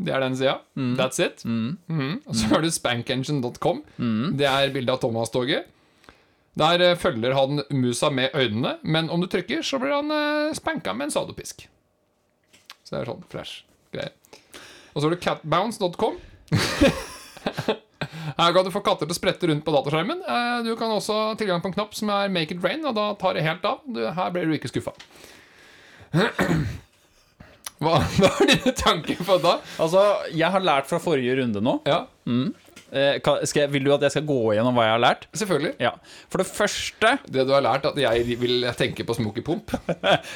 Det er den sida. That's it. Mhm. Og så har du spankengine.com. Det er bildet av Thomas-toget. Der eh, følger han musa med øynene, men om du trykker, så blir han eh, spanka med en sadopisk. Så det er sånn flash-greie. Og så har du catbounce.com. Her kan du få katter til å sprette rundt på dataskjermen. Eh, Du kan også ha tilgang på en knapp som er Make it rain, og da tar det helt av. Du, her blir du ikke skuffa. [CLEARS THROAT] Hva [LAUGHS] hva er dine tanker på da? Altså, jeg har lært fra forrige runde nå. Ja, Eh, kan- skal jeg, vil du at jeg skal gå gjennom hva jeg har lært? selvfølgelig. Ja. For det første Det du har lært, at jeg vil tenke på Smoky Pump.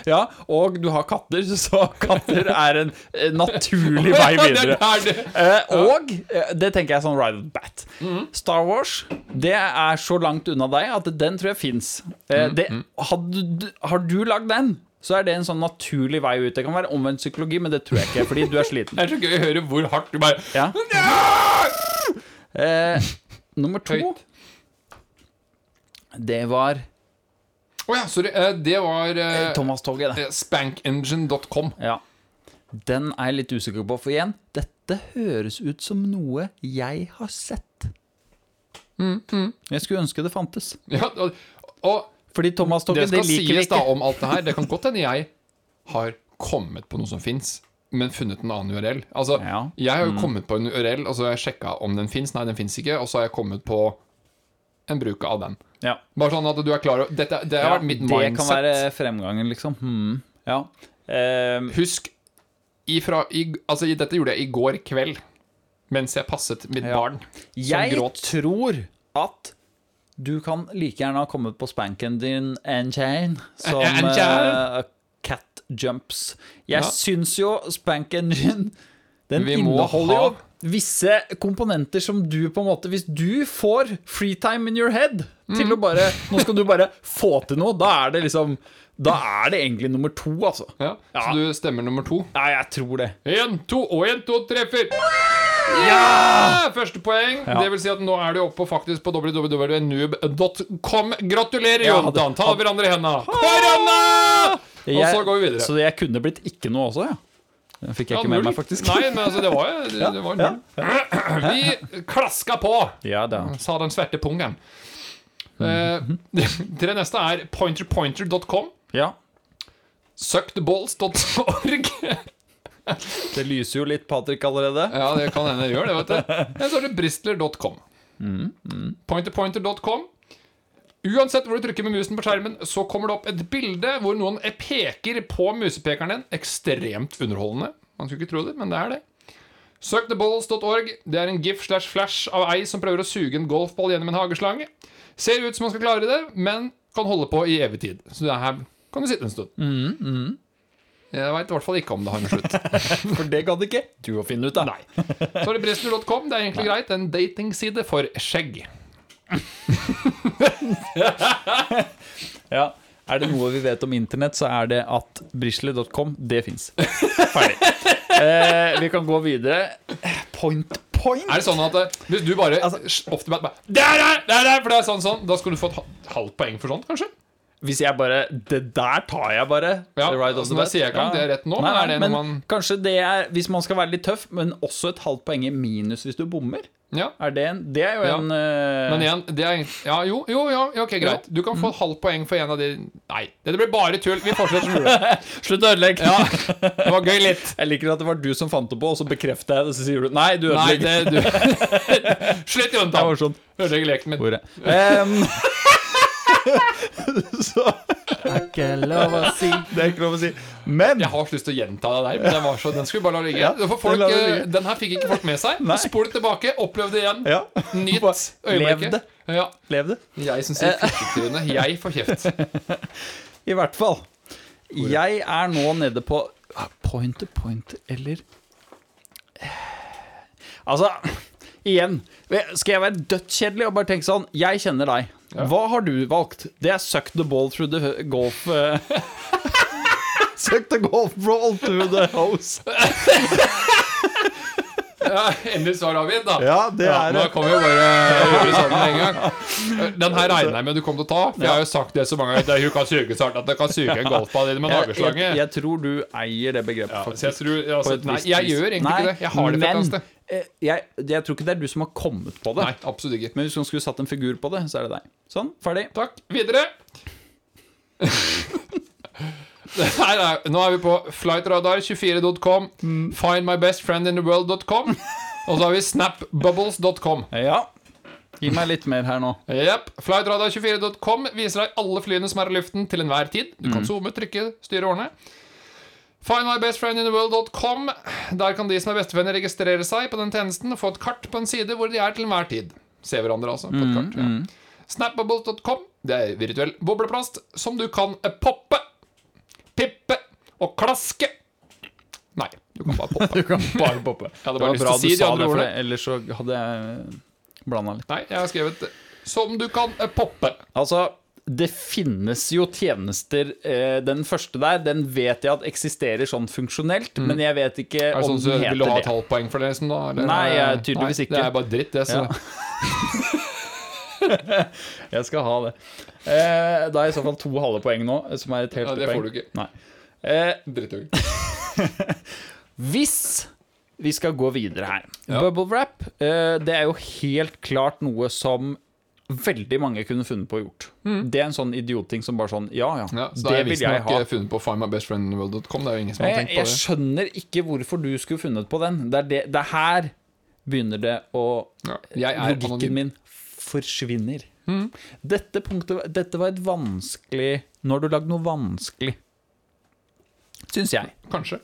Ja, og du har katter, [LAUGHS] så katter er en eh, naturlig vei videre. [LAUGHS] Ja, Mhm. det er det. Eh, og eh, det tenker jeg sånn right off the bat. Star Wars det er så langt unna deg at den tror jeg fins. Eh, Mhm, det- hadde du- har du lagd den, så er det en sånn naturlig vei ut. Det kan være omvendt psykologi, men det tror jeg ikke, fordi du er [LAUGHS] sliten. Det er så gøy å høre hvor hardt du bare Ja. [LAUGHS] Eh, nummer to Høyt. Det var Å ja, sorry. eh, Det var eh, Thomas-toget, det. eh, spankengine.com. Ja. Den er jeg litt usikker på, for igjen, dette høres ut som noe jeg har sett. Mm, Jeg skulle ønske det fantes. Ja, og, og Fordi Det Thomas-toget, det skal liker vi sies da ikke. om alt det her. Det kan godt hende jeg har kommet på noe som fins, men funnet en annen URL. Altså, Ja. Mm. Jeg har jo kommet på en URL, og så har jeg sjekka om den fins. Nei, den fins ikke. Og så har jeg kommet på en bruk av den. Ja. Bare sånn at du er klar over Dette, Det har vært mitt det mindset. kan være fremgangen, liksom. Hmm. Ja. Ehm, Husk ifra, i, Altså, dette gjorde jeg i går kveld. Mens jeg passet mitt Ja. barn. Jeg gråt. tror at du kan like gjerne ha kommet på spanken din Enchain som En- Enchain? eh, Cat Jumps. Jeg Ja. syns jo spanken din den Vi må inneholder ha- jo visse komponenter som du på en måte Hvis du får freetime in your head Mm. til å bare Nå skal [LAUGHS] du bare få til noe, da er det liksom Da er det egentlig nummer to, altså. Ja. Så Ja. du stemmer nummer to. Ja, jeg tror det. Én, to, og én, to, tre, fire. Ja! Første poeng. Det vil si at nå er du oppe på- faktisk på www.noob.com. Gratulerer, Ja, Jontan. det- Ta hverandre i henda. Korona! Og Jeg- så går vi videre. Så jeg kunne blitt ikke noe også, ja. Den fikk jeg Ja, ikke med null. meg, faktisk. Nei, men altså, det var jo [LAUGHS] det, det var null. Vi klaska på, Ja, da. sa den sverte pungen. Eh, [LAUGHS] Tre neste er pointerpointer.com, ja. suckedballs.org Det lyser jo litt Patrick allerede. [LAUGHS] Ja, det kan hende det gjør det, vet du. Men så er det bristler.com. Pointerpointer.com. Uansett hvor du trykker med musen på skjermen, så kommer det opp et bilde hvor noen peker på musepekeren din. Ekstremt underholdende. Man skulle ikke tro det, men det er det. Sucktheballs.org. Det er en gif slash flash av ei som prøver å suge en golfball gjennom en hageslange. Ser ut som man skal klare det, men kan holde på i evig tid. Så det her kan du sitte en stund. Jeg veit i hvert fall ikke om det har en slutt. For det gadd ikke du å finne ut av. Nei. Så er det bristol.com. Det er egentlig greit. En datingside for skjegg. [LAUGHS] Ja. Er det noe vi vet om internett, så er det at brisle.com, det [LAUGHS] fins. Ferdig. Eh, vi kan gå videre. Point, point. Er det sånn at eh, hvis du bare ofte bare, bare der, er- der, er, For det er sånn, sånn. Da skulle du fått ha- halvt poeng for sånt, kanskje? Hvis jeg bare Det der tar jeg bare. Ja, The right of altså, the det sier jeg ikke om det er rett nå, men er det noe man- Kanskje det er, hvis man skal være litt tøff, men også et halvt poeng i minus hvis du bommer. Ja. Er det en Det er jo Ja. en eh, Men igjen, det er egentlig Ja, jo, jo, ja, ja, ok, greit. Du kan få et halvt poeng for en av de Nei, det blir bare tull. Vi fortsetter som mulig. Slutt å ødelegge. Ja, [LAUGHS] det var gøy litt. [LAUGHS] Jeg liker at det var du som fant det på, og så bekrefter jeg det, så sier du nei, du Nei, det ødelegger. du [LAUGHS] Slutt, Det var Jontan. sånn. Ødelegger leken min. Ordet. Em, [LAUGHS] så Det er ikke lov å si. Men Jeg har så lyst til å gjenta det der, men den, var så, den skulle vi bare la ligge. Ja, For folk, den lar vi eh, ligge. den her fikk ikke folk med seg. Nei. Spol tilbake, opplev det igjen. ja, Nyt Bare lev øyeblikket. det. Ja. lev det. Jeg som sier fittetryne, jeg får kjeft. [LAUGHS] I hvert fall. Jeg er nå nede på ah, point to point, eller Altså, igjen. Skal jeg være dødskjedelig og bare tenke sånn Jeg kjenner deg. Hva har du valgt? Det er suck the ball through the golf eh, [LAUGHS] Suck the golf ball through the house. Ja, endelig svar avgitt, da. Ja, det Ja, er nå det. kan vi jo bare gjøre det sammen med en gang. Den her regner jeg med du kommer til å ta. For jeg har jo sagt det så mange ganger. at Hun kan suge så hardt at det kan suge en golfball inn med en Jeg, jeg, hageslange. jeg tror du eier det begrepet, Ja, så faktisk. jeg tror, altså, på et nei, visst jeg vis. gjør egentlig Nei, ikke det. Jeg har det for et men, annet sted. eh, Jeg, jeg tror ikke det er du som har kommet på det. Nei, absolutt ikke. Men hvis man skulle satt en figur på det, så er det deg. Sånn, ferdig. Takk. Videre. Det her er, nå er vi på flightradar24.com, findmybestfriendintheworld.com, og så har vi snapbubbles.com. Ja. Gi meg litt mer her nå. Jepp. Flightradar24.com viser deg alle flyene som er i luften til enhver tid. Du Mm. kan zoome, trykke, styre årene. Findmybestfriendintheworld.com. Der kan de som er bestevenner, registrere seg på den tjenesten og få et kart på en side hvor de er til enhver tid. Se hverandre, altså. På et Mm, kart. Ja. Snapbubble.com. Det er virtuell bobleplast som du kan eh, poppe, pippe og klaske. Nei, du kan bare [LAUGHS] poppe. Bare poppe. hadde [LAUGHS] det bare var lyst til bra å si du de sa andre det, for ordene. ellers så hadde jeg blanda litt. Nei, jeg har skrevet eh, 'som du kan eh, poppe'. Altså, det finnes jo tjenester. eh, Den første der, den vet jeg at eksisterer sånn funksjonelt, men jeg vet ikke Mm. Er det om sånn, så den vil du ha heter et det. halvt poeng for det? Liksom, da? eller? Nei, jeg- tydeligvis ikke. Det er bare dritt, det. Så. [LAUGHS] Ja. Jeg skal ha det. Eh, Da er i så fall to halve poeng nå, eh, som er et helt Ja, det poeng. får du ikke. Nei. Eh, Drittøy. Hvis vi skal gå videre her Bubble wrap, eh, det er jo helt klart noe som veldig mange kunne funnet på å gjort. Det er en sånn idiotting som bare sånn Ja, ja, Mm. Ja, så da det har jeg vil jeg visstnok ha. Eh, eh, funnet på findmybestfriendintheworld.com. Det er jo ingen som har Jeg, tenkt på jeg det. skjønner ikke hvorfor du skulle funnet på den. Det er, det, det er her begynner det å Ja. Jeg er anonym. Mm. Logikken min forsvinner. Dette punktet Dette var et vanskelig Nå har du lagd noe vanskelig, syns jeg. Kanskje.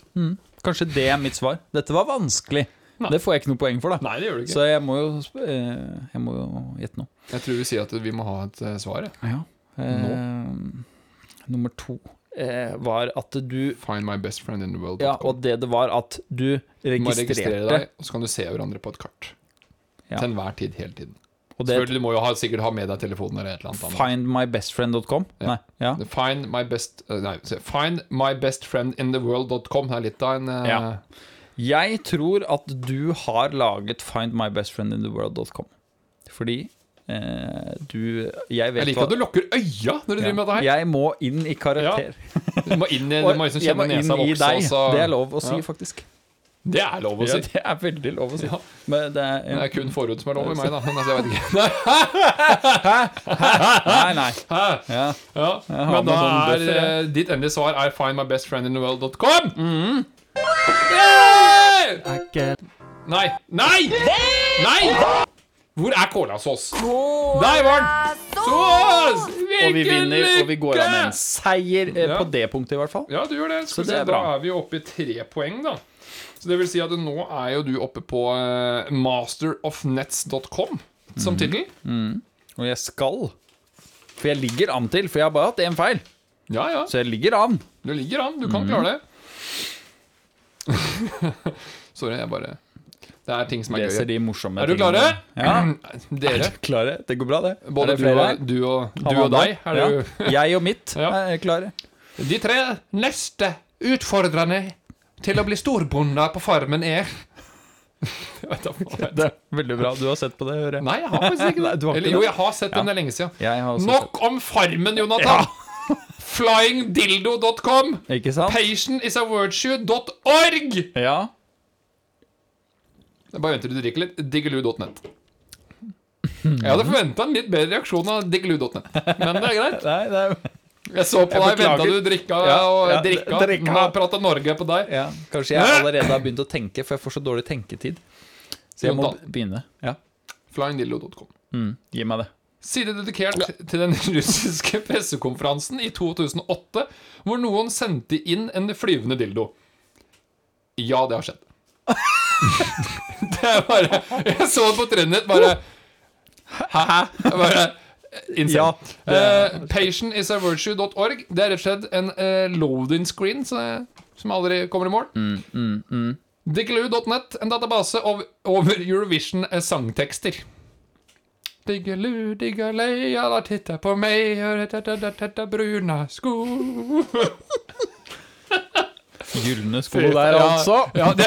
Kanskje det er mitt svar. Dette var vanskelig. Det får jeg ikke noe poeng for, da. Nei, det gjør du ikke. Så jeg må jo sp- eh, Jeg må jo gjette noe. Jeg tror vi sier at vi må ha et eh, svar. jeg. Ja. Nummer to eh, var at du Find my best friend in the world. Ja, og det det var at du du må registrere registrerte deg, og så kan du se hverandre på et kart. Ja. Til enhver tid, hele tiden. og det Selvfølgelig må jo ha, sikkert ha med deg telefonen eller et eller annet. annet. Findmybestfriend.com? Ja. Nei. Ja. Find my best eh, Nei, se, find my best friend in the world.com. Det er litt av en eh, Ja. Jeg tror at du har laget findmybestfriendintheworld.com. Fordi eh, du Jeg vet Jeg liker at du lukker øya når du driver med dette her. Jeg må inn i karakter. Du må inn i, du må liksom jeg må kjenne inn nesa i vokse. deg. og så- Det er lov å si, Ja. faktisk. Det er lov å Ja, si. det er veldig lov å si. Ja. Men det er, Det er kun forhud som er lov i meg, da. Men altså, jeg vet ikke. Nei, nei. Hæ? Ja. Ja. har Men da med sånn er buffer, jeg. eh, ditt endelige svar er findmybestfriendintheworld.com. Nei! Nei! Nei! Hvor er colasås? Der var den! Sås! Og vi Hvilken vinner, og vi går av med en lykke! seier eh, Ja. på det punktet, i hvert fall. Ja, du gjør det. Skal Så vi det se, er da bra. er vi jo oppe i tre poeng, da. Så det vil si at nå er jo du oppe på eh, masterofnets.com som Mhm. tittel. Og jeg skal. For jeg ligger an til, for jeg har bare hatt én feil. Ja, ja. Så jeg ligger an. Du ligger an. Du kan klare det. [LAUGHS] Sorry, jeg bare Det er ting som er Leser gøy. de morsomme Er du klare? Ja. [CLEARS THROAT] [CLEARS THROAT] Dere. Klare? Det går bra, det. Både Er det du flere og, her? du og, Han du og andre? deg. Er Ja. du Jeg og mitt Ja. er klare. [LAUGHS] De tre neste utfordrende til å bli storbonde på farmen er [LAUGHS] Jeg vet da faen. Det er veldig bra. Du har sett på det, hører jeg. Nei, jeg har faktisk ikke det. Nei, du har ikke Eller, det. jo, jeg har sett den, det er lenge siden. Jeg har også Nok om farmen, Jonathan! [LAUGHS] Flyingdildo.com. sett- Ikke sant? Patientisavirtue.org. Ja. Bare venter til du drikker litt. Diggelu.net. Jeg hadde forventa en litt bedre reaksjon av diggelu.net, men det er greit. Nei, det er Jeg så på deg, beklager. venta du drikka Ja, og ja, drikka. drikka. Nå prata Norge på deg. ja. Kanskje jeg allerede har begynt å tenke, for jeg får så dårlig tenketid. Så jeg må Jontan. begynne. Ja. Flyingdildo.com. Mm. Gi meg det. Side dedikert til den [LAUGHS] russiske pressekonferansen i 2008, hvor noen sendte inn en flyvende dildo. Ja, det har skjedd. [LAUGHS] det er bare Jeg så det på trendet, bare Hæ? Jeg Bare Insane. Ja, Eh, Patientisavirtue.org. Det er rett og slett en eh, loading screen så, som aldri kommer i mål. mm, Diggelu.net, en database ov over eh, Eurovision-sangtekster. Diggelu, diggalei, alla tittar på meg, tetta-tetta-tetta, bruna sko Gylne sko der, altså. Ja, det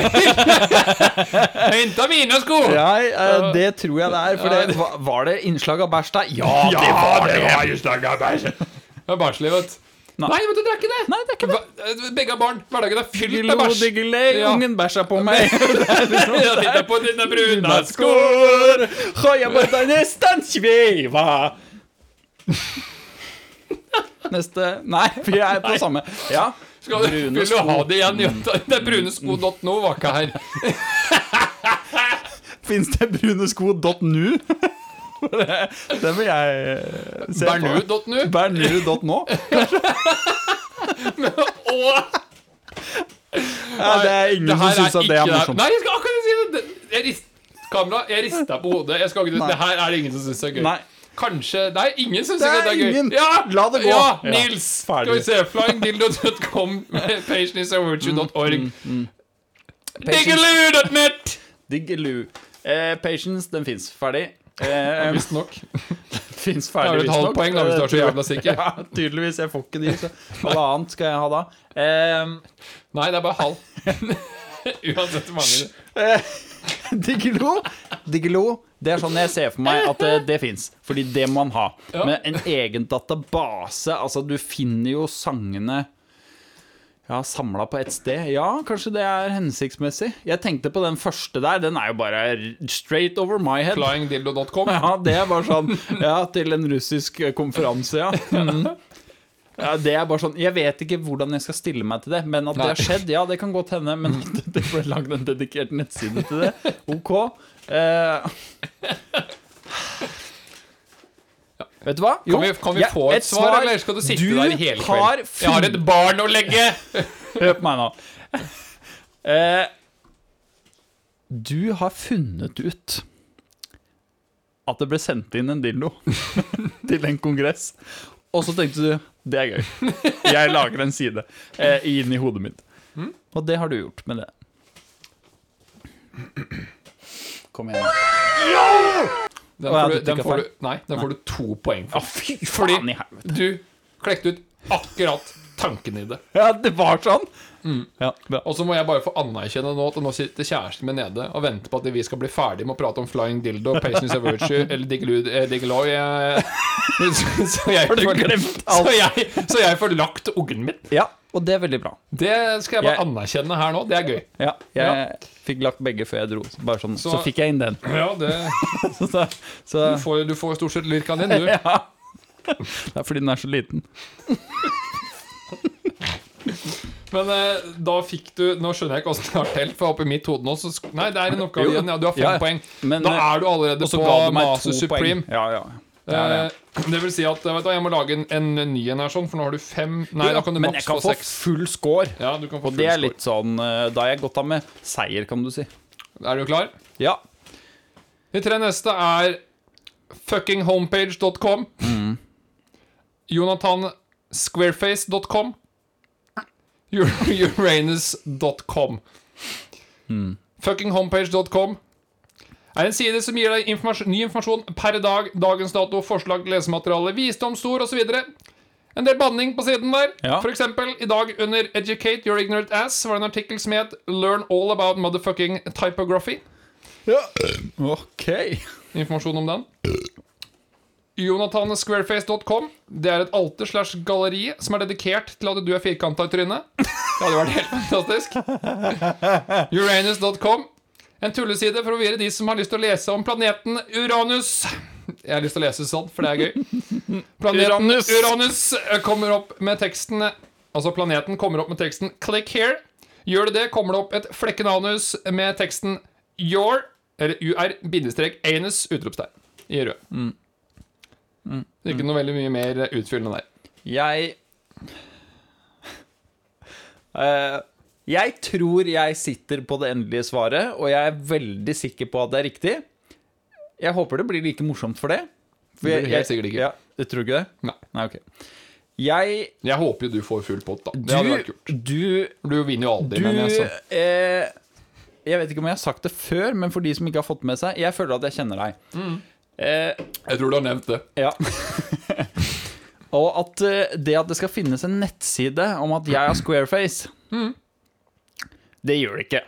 [LAUGHS] Henta mine sko! Nei, eh, det tror jeg det er. For det, va- var det innslag av bæsj der? Ja, det var det! var jo slag av bæsj. Det er barnslig, vet du. Nei. Nei, vet du, det er ikke det. Nei, det er ikke det. Hva- eh, Begge har barn. Hverdagen er fylt Gyllo av bæsj. [LAUGHS] diggelei, Ja. ungen bæsja på [LAUGHS] meg. sånn. Jeg tittar på dine bruna sko. skor Har jeg bare deg nesten [LAUGHS] sveva Neste Nei, for jeg er på samme Ja, Skal du, Brune vil du ha sko. det igjen, Jøtta? Det er brunesko.no var ikke her. finnes det [LAUGHS] brunesko.nu? Det vil jeg eh, se på Bernu.nu. Bernu.no Åh! ja, Det er ingen som her synes at det ikke er morsomt Nei, jeg skal akkurat si det! det. Jeg rist, kamera, jeg rista på hodet. Jeg skal ikke, Nei. det her er det ingen som syns er gøy. Nei, Kanskje Nei, ingen syns Det ikke er det er gøy. ingen. Ja! La det gå. Ja, Ja. Nils! Skal vi Ferdig. se. Flyingdildo.com, [LAUGHS] pagenisofvirtue.org, Mm, diggaloo.net! Diggelu eh, Patience, den finnes ferdig eh, [LAUGHS] Visstnok. Fins Da har ferdig Eh, du et halvt poeng, da, hvis du er så jævla sikker. [LAUGHS] Ja, tydeligvis. Jeg får ikke de, så alle annet skal jeg ha da. Eh, Nei, det er bare halv. [LAUGHS] Uansett hvor mange det Diggelo. Diggelo. Det er sånn jeg ser for meg at det, det fins. Fordi det må man ha. Ja. Men en egen database Altså, du finner jo sangene ja, Samla på ett sted. Ja, kanskje det er hensiktsmessig. Jeg tenkte på den første der. Den er jo bare straight over my head. Flyingdildo.com. [LAUGHS] Ja, det er bare sånn Ja, til en russisk eh, konferanse, ja. Mm. ja. Det er bare sånn Jeg vet ikke hvordan jeg skal stille meg til det, men at det har skjedd, ja, det kan godt hende. Men at Mm. [LAUGHS] det ble lagd en dedikert nettside til det, ok. Eh, Vet du hva? Jo, Kan vi, kan vi jeg- få et svar, eller skal du sitte der i hele har kvelden? Jeg har et [LAUGHS] barn å legge! Hør på meg nå. Eh, Du har funnet ut at det ble sendt inn en dildo [LAUGHS] til en kongress. Og så tenkte du det er gøy. Jeg lager en side eh, inn i hodet mitt. Og det har du gjort med det. Kom igjen. Den Å, ja, får du, du den tykket får feil. du, nei, den får du to poeng Å, for. fy Fordi faen i helvete. du klekte ut akkurat tanken i det. Ja, det var sånn. Ja, bra. Og så må jeg bare få anerkjenne nå at nå sitter kjæresten min nede og venter på at vi skal bli ferdig med å prate om Flying Dildo, Patience of Virtue eller Digilud- eh, Digiloy. eh, [LAUGHS] Så, så, jeg Har du får- glemt alt? så, jeg, så jeg får lagt ungen min. ja, og det er veldig bra. Det skal jeg bare Jeg- anerkjenne her nå. Det er gøy. Ja, jeg fikk lagt begge før jeg dro. Bare sånn, så, Så- fikk jeg inn den. Ja, det, Så, [LAUGHS] så, du, får, du får stort sett lyrka din, du. [LAUGHS] ja. Det er fordi den er så liten. Men eh, da fikk du Nå skjønner jeg ikke åssen det har telt, for oppi mitt hode nå så sk- Nei, det er en oppgave Jo. igjen. Ja, du har fem Ja, ja. poeng. Men, da eh, er du allerede Og så på ga du meg Master to Supreme. poeng. Ja, ja. ja, ja. Eh, Det vil si at eh, vet du, hva, jeg må lage en, en ny en her, sånn, for nå har du fem Nei, da kan du Men maks jeg få kan få seks. full score. Ja, du kan få Og full det er score. litt sånn eh, Da har jeg gått av med seier, kan du si. Er du klar? Ja. De tre neste er fuckinghomepage.com, jonathansquareface.com, uranus.com. Fuckinghomepage.com er en side som gir deg informasjon, ny informasjon per dag, dagens dato, forslag til lesemateriale, visdomsord osv. En del banning på siden der. Ja. For eksempel i dag under Educate Your Ignorant Ass var det en artikkel som het Learn All About Motherfucking Typography. Ok. Informasjon om den. JonathanSquareface.com. Det er et alter slash galleri som er dedikert til at du er firkanta i trynet. Det hadde vært helt fantastisk. Uranus.com. En tulleside for å vire de som har lyst til å lese om planeten Uranus. Jeg har lyst til å lese sånn, for det er gøy. Planeten Uranus. Uranus eh, kommer opp med teksten Altså, planeten kommer opp med teksten 'Click here'. Gjør du det, kommer det opp et flekkenanus med teksten 'Your' eller UR-anus utropstegn i rød. Mm. Det er ikke noe veldig mye mer eh, utfyllende der. Jeg Eh, Jeg tror jeg sitter på det endelige svaret, og jeg er veldig sikker på at det er riktig. Jeg håper det blir like morsomt for det. For Det blir helt sikkert ikke. Ja, du tror ikke det? Nei. Nei, ok. Jeg Jeg håper jo du får full pott, da. Det hadde vært Du, kult. du Du vinner jo aldri, Du, men jeg, så. eh, jeg vet ikke om jeg har sagt det før, men for de som ikke har fått med seg Jeg føler at jeg kjenner deg. Eh, jeg tror du har nevnt det. ja. [LAUGHS] Og at eh, det at det skal finnes en nettside om at jeg har squareface, det gjør det ikke.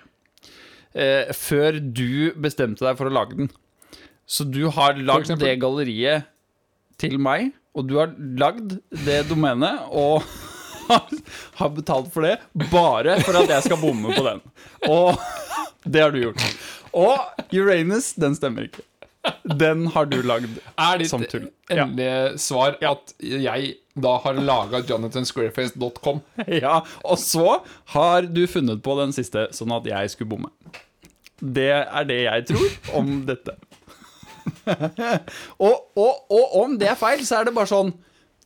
Eh, før du bestemte deg for å lage den. Så du har lagd eksempel? det galleriet til meg, og du har lagd det domenet og [LAUGHS] har betalt for det bare for at jeg skal bomme på den. Og [LAUGHS] det har du gjort. Og Uranus, den stemmer ikke. Den har du lagd Er ditt som tull. Ja. endelige svar at jeg da har laga jonathansquareface.com? [LAUGHS] Ja, og så har du funnet på den siste, sånn at jeg skulle bomme. Det er det jeg tror om [LAUGHS] dette. og, og, og om det er feil, så er det bare sånn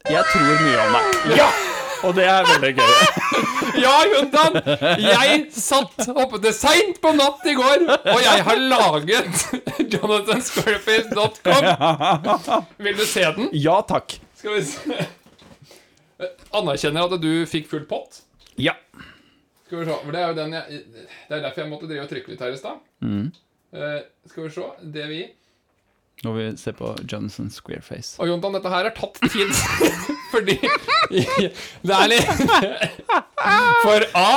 Jeg tror mye om deg. [LAUGHS] Ja! Og det er veldig [LAUGHS] gøy. Ja, Jontan! Jeg satt oppe til seint på natt i går, og jeg har laget jonathansquareface.com. Vil du se den? Ja takk. Skal vi se Anerkjenner at du fikk full pott. Ja. Skal vi se, for Det er jo den jeg Det er derfor jeg måtte drive og trykke litt her i stad. Eh, skal vi se Det vi Når vi ser på Johnson Squareface. Og Jontan, dette her har tatt tid. [LAUGHS] Fordi Det er litt For A.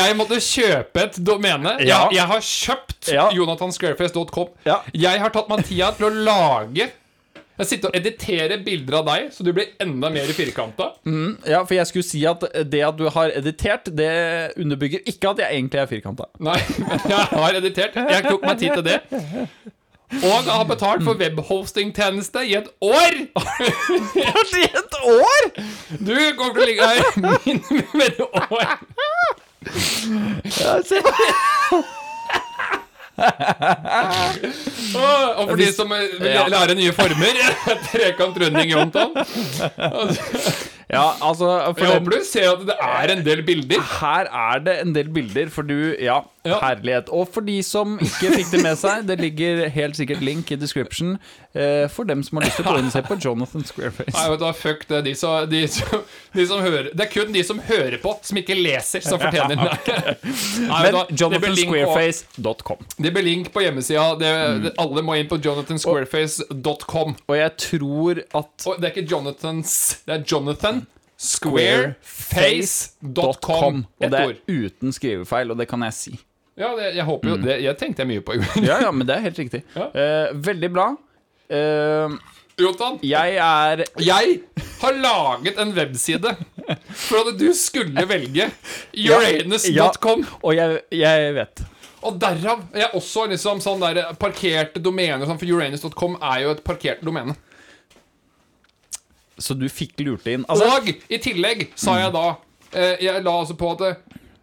Jeg måtte kjøpe et domene. Jeg, Ja. jeg har kjøpt Ja. jonathansquareface.com. Ja. Jeg har tatt meg tida til å lage Jeg sitter og editerer bilder av deg, så du blir enda mer firkanta. Ja, for jeg skulle si at det at du har editert, det underbygger ikke at jeg egentlig er firkanta. [LAUGHS] Nei, [LAUGHS] men jeg har editert. Jeg tok meg tid til det. Og har betalt for webhosting-tjeneste i et år! I et år?! Du kommer til å ligge her minimum et år. Og og for de som eh, vil Ja. lære nye [LAUGHS] former [LAUGHS] Trekant runding Jontan. Ja, altså for Jeg den- håper du ser at det er en del bilder. Her er det en del bilder, for du Ja, Ja. Herlighet. Og for de som ikke fikk det med seg, det ligger helt sikkert link i description eh, for dem som har lyst til å gå inn og se på Jonathan Nei, Squareface. vet du hva, fuck det. De som, de, som, de som hører Det er kun de som hører på, som ikke leser, som [LAUGHS] fortjener den. Nei, vet du Men hva, det blir link på- jonathansquareface.com. Det blir link på hjemmesida. Det, Mm. det, alle må inn på jonathansquareface.com. Og jeg tror at Og det er ikke Jonathans, det er Jonathan. Squareface.com. Squareface.com. Og Ett det ord. er uten skrivefeil, og det kan jeg si. Ja, det, jeg håper Mm. jo det, Jeg tenkte jeg mye på i går. Ja, ja, men det er helt riktig. Ja. Eh, veldig bra. Eh, [LAUGHS] Jonathan, jeg er jeg har laget en webside for at du skulle velge uranus.com. Og jeg, jeg vet. Og derav jeg er også liksom sånn der parkerte domener og sånn, for uranus.com er jo et parkert domene. Så du fikk lurt det inn. Altså, og i tillegg sa jeg da eh, Jeg la altså på at det,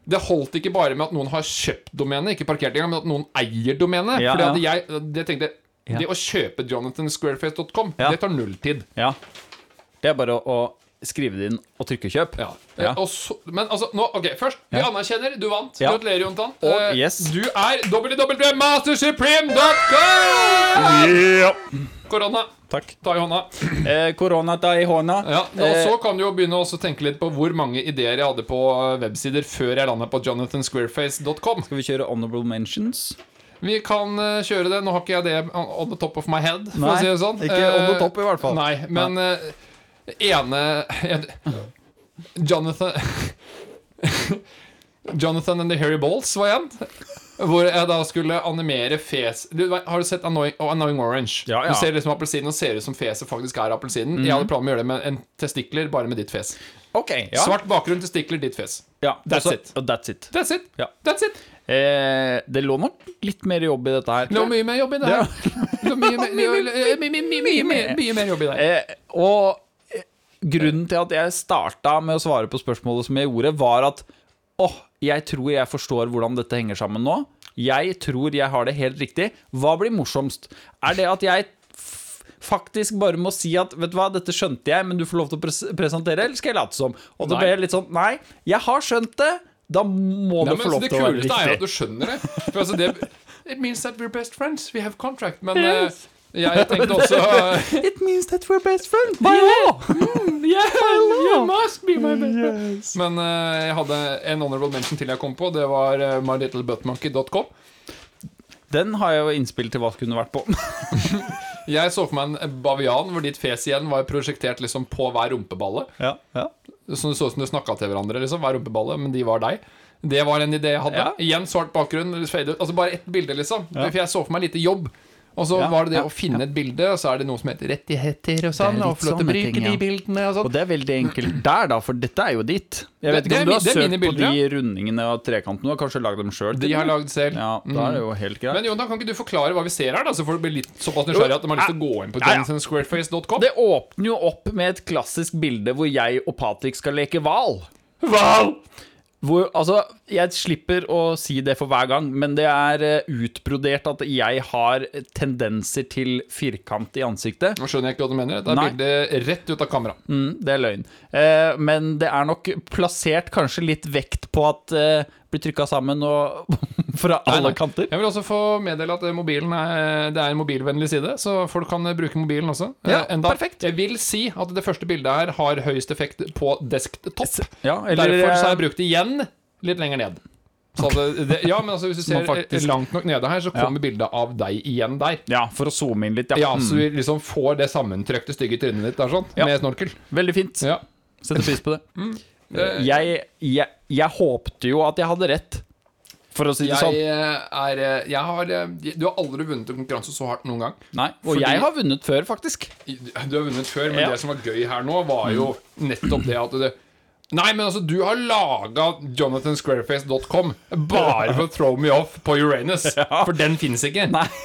det holdt ikke bare med at noen har kjøpt domenet, ikke parkert engang, men at noen eier domenet. Ja, fordi at ja. jeg det tenkte jeg, Ja. Det å kjøpe jonathansquareface.com, Ja. det tar null tid. ja. Det er bare å, å skrive det inn og trykke kjøp. Ja. Ja. Eh, Og så, men altså, nå, ok, først Vi Ja. anerkjenner, du vant. Ja. Gratulerer, Jontan. Og Eh, yes. Du er www.mastersupreme.com! Ja. Korona. Takk. Ta i hånda. Eh, korona ta i hånda. Ja, og Eh, Så kan du jo begynne å også tenke litt på hvor mange ideer jeg hadde på eh, websider før jeg landa på jonathansquareface.com. skal vi kjøre honorable mentions? Vi kan eh, kjøre det. Nå har ikke jeg det on the top of my head. For Nei, å si det sånn. ikke on the Eh, top i hvert fall. Nei, men eh, ene jeg, Jonathan [LAUGHS] Jonathan and the Hairy Balls var en. Hvor jeg da skulle animere fes du, vet- Har du sett Annoying, oh, Annoying Orange? Ja, Mhm. ja. Du ser liksom appelsinen og ser ut som fjeset faktisk er appelsinen. Jeg hadde planer om å gjøre det med en testikler, bare med ditt fjes. Ok, ja. Svart bakgrunn, testikler, ditt fjes. Ja, That's også- it. og That's it. That's it. Ja. That's it. Eh, det lå nok litt mer jobb i dette her. Det var mye mer jobb i det her. Det var mye mer- det var- mye- mye- mye- mye- mye- Mye mer jobb i det her. Eh, og eh, grunnen til at jeg starta med å svare på spørsmålet som jeg gjorde, var at åh, jeg tror jeg forstår hvordan dette henger sammen nå. Jeg tror jeg har det helt riktig. Hva blir morsomst? Er det at jeg f- faktisk bare må si at vet du hva, dette skjønte jeg, men du får lov til å pres presentere, eller skal jeg late som? Og da Nei. ble jeg litt sånn Nei, jeg har skjønt det. Da må Nei, det få men lov det til å være kuleste er jo at riktig. du skjønner det. For altså det It means that we're best friends. We have contract. Men eh, jeg, jeg tenkte også eh, [LAUGHS] It means that we're best friends. By law. You must be my best friend. Men eh, jeg hadde en honorable mention til jeg kom på. Det var eh, mylittlebuttmonkey.com. Den har jeg jo innspill til hva det kunne vært på. Jeg så for meg en bavian hvor ditt fjes igjen var prosjektert liksom på hver rumpeballe. ja, ja. Så det så ut som du snakka til hverandre, liksom. Hver rumpeballe, men de var deg. Det var en idé jeg hadde. Ja. Igjen svart bakgrunn. Fade ut. Altså bare ett bilde, liksom. For jeg så for meg lite jobb. Og så Ja, var det det ja, å finne et bilde, og så er det noe som heter rettigheter og sånn. Og få Det er litt lov til å sånne bruke ting, ja. de bildene og Og sånn. det er veldig enkelt der, da, for dette er jo ditt. Jeg vet Det- det ikke er om du har mi- det er søkt mine på bilder, de rundingene og trekantene. Du har kanskje lagd dem sjøl? De har lagd selv. Mm. Ja, da er det jo helt greit. Men Jonathan, kan ikke du forklare hva vi ser her, da? Så får du bli litt såpass nysgjerrig at de har lyst til å gå inn på Ah. Ja, ja. jonathansquareface.com. det åpner jo opp med et klassisk bilde hvor jeg og Patrick skal leke hval. Wow! Hvor, altså, jeg slipper å si det for hver gang, men det er eh, utbrodert at jeg har tendenser til firkant i ansiktet. Nå skjønner jeg ikke hva du mener. Det er Nei. bildet rett ut av kamera. Mm, det er løgn. Eh, men det er nok plassert kanskje litt vekt på at eh, blir trykka sammen og [LAUGHS] fra Nei, alle nei. kanter. Jeg vil også få meddele at eh, mobilen er, det er en mobilvennlig side, så folk kan eh, bruke mobilen også. Eh, Ja, enda. Jeg vil si at det første bildet her har høyest effekt på desktop. Ja, eh, Derfor så har jeg brukt det igjen litt lenger ned. Så det, det, ja, men altså Hvis du [LAUGHS] ser Man faktisk- eh, langt nok nede her, så kommer bildet av deg igjen der. Ja, for å zoome inn litt, ja. Mm. Ja, Så vi liksom får det sammentrykte stygge trynet ditt der sånn, Ja. med snorkel. Veldig fint. Ja. Setter pris på det. Eh, Jeg, jeg, jeg håpte jo at jeg hadde rett, for å si det Jeg sånn. eh, er eh, jeg har, eh, Du har aldri vunnet en konkurranse så hardt noen gang. Nei, og fordi- jeg har vunnet før, faktisk. Du har vunnet før, men Ja. Mm. det som var gøy her nå, var jo nettopp det at det Nei, men altså, du har laga jonathansquareface.com bare for å throw me off på [LAUGHS] Uranus. For den fins ikke. Nei. [LAUGHS]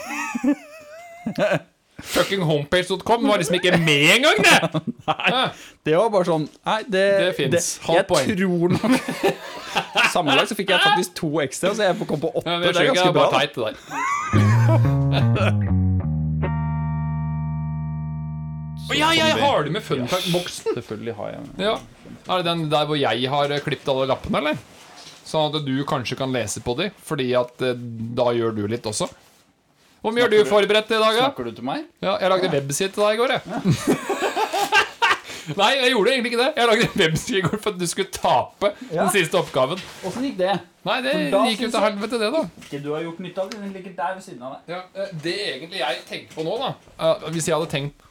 Fucking homepage.com var liksom ikke med engang, [LAUGHS] det! Nei. Det var bare sånn Nei, det, Det finnes. Halvt Jeg poeng. tror nok [LAUGHS] Sammenlagt så fikk jeg faktisk to ekstra, så jeg får komme på åtte. Ja, det er ganske bra. bare da. teit, det der. [LAUGHS] [LAUGHS] Å, ja, ja, jeg har det med funfact-boksen. Selvfølgelig har jeg Ja. Er det den der hvor jeg har klippet alle eh, lappene, eller? Sånn at du kanskje kan lese på de, Fordi at eh, da gjør du litt også. Hvor mye har du forberedt i dag, da? Snakker du til meg? Ja, jeg lagde webside til deg i går, jeg. [LAUGHS] Nei, jeg gjorde egentlig ikke det. Jeg lagde webside i går for at du skulle tape Ja. den siste oppgaven. Åssen gikk det? Nei, det For da gikk jo synes til jeg- helvete, det, da. Ikke du har gjort nytte av det. Den ligger der ved siden av deg. Ja, eh, det egentlig jeg tenkte på nå, da eh, Hvis jeg hadde tenkt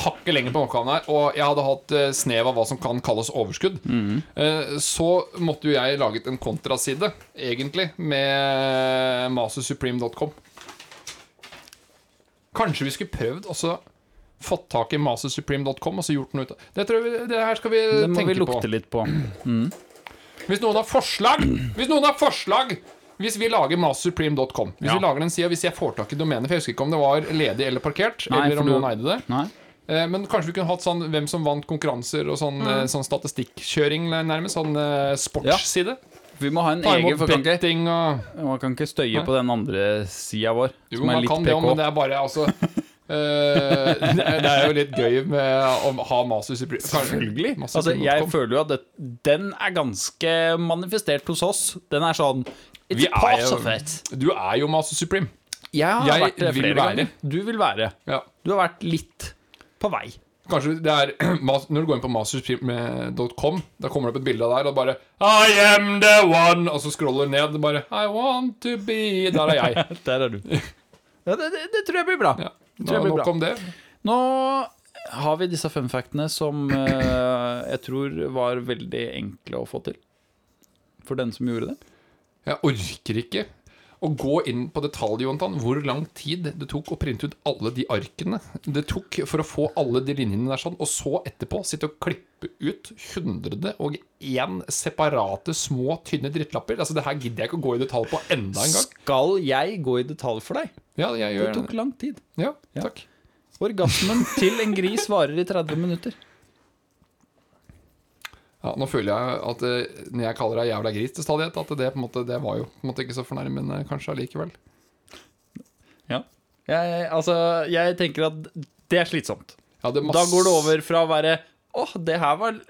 hakket lenger på oppgaven her, og jeg hadde hatt eh, snev av hva som kan kalles overskudd, Mhm. eh, så måtte jo jeg laget en kontraside, egentlig, med mastersupreme.com. Kanskje vi skulle prøvd også fått tak i mastersupreme.com og så gjort noe ut av det. Tror jeg, vi- det her skal vi Det må tenke vi lukte på. litt på. Hvis noen har forslag Hvis noen har forslag hvis vi lager mastersupreme.com Hvis Ja. vi lager den sida, hvis jeg får tak i domenet For jeg husker ikke om det var ledig eller parkert, Nei, eller for om du- noen eide det. Nei? Eh, Men kanskje vi kunne hatt sånn hvem som vant konkurranser og sånn, Mm. eh, sånn statistikkjøring, nærmest. Sånn eh, sportsside. Vi må ha en Ta egen imot for kan ikke, betting og Man kan ikke støye på den andre sida vår, Jo, som er man litt kan det, PK. men det er bare [LAUGHS] altså eh, det, er- det er jo litt gøy med å ha mastersupreme- kanskje- Selvfølgelig. Altså, mastersupreme.com. jeg føler jo at det, den er ganske manifestert hos oss. Den er sånn It's Vi er part jo- of it. Du er jo Master Supreme. Jeg har Jeg vært det vil flere være. ganger. Du vil være. Ja. Du har vært litt på vei. Kanskje det er [CLEARS THROAT] mas- Når du går inn på mastersupreme.com, da kommer det opp et bilde av deg, og bare I am the one! Og så scroller du ned, og bare I want to be Der [LAUGHS] er jeg. Der er du. Ja, det, det, det tror jeg blir bra. Ja. Det tror Nå, jeg blir nok bra. om det. Nå har vi disse fun factene som eh, jeg tror var veldig enkle å få til. For den som gjorde det. Jeg orker ikke å gå inn på detalj, Jonathan, hvor lang tid det tok å printe ut alle de arkene det tok for å få alle de linjene der sånn, og så etterpå sitte og klippe ut 101 separate små, tynne drittlapper. Altså, det her gidder jeg ikke å gå i detalj på enda en gang. Skal jeg gå i detalj for deg? Ja, jeg Det gjør tok lang tid. Ja, Ja. takk. Orgasmen til en gris varer i 30 minutter. Ja, nå føler jeg at eh, når jeg kaller deg jævla gris til stadighet, at det, på en måte, det var jo på en måte ikke så fornærmende kanskje allikevel. Ja. Jeg, altså, jeg tenker at det er slitsomt. Ja, det er Da masse- går det over fra å være åh, det her var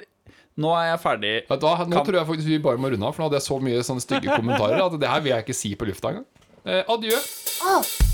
Nå er jeg ferdig. Vet du hva, nå Kan- tror jeg faktisk vi bare må runde av, for nå hadde jeg så mye sånne stygge kommentarer at det her vil jeg ikke si på lufta engang. Eh, adjø. Å,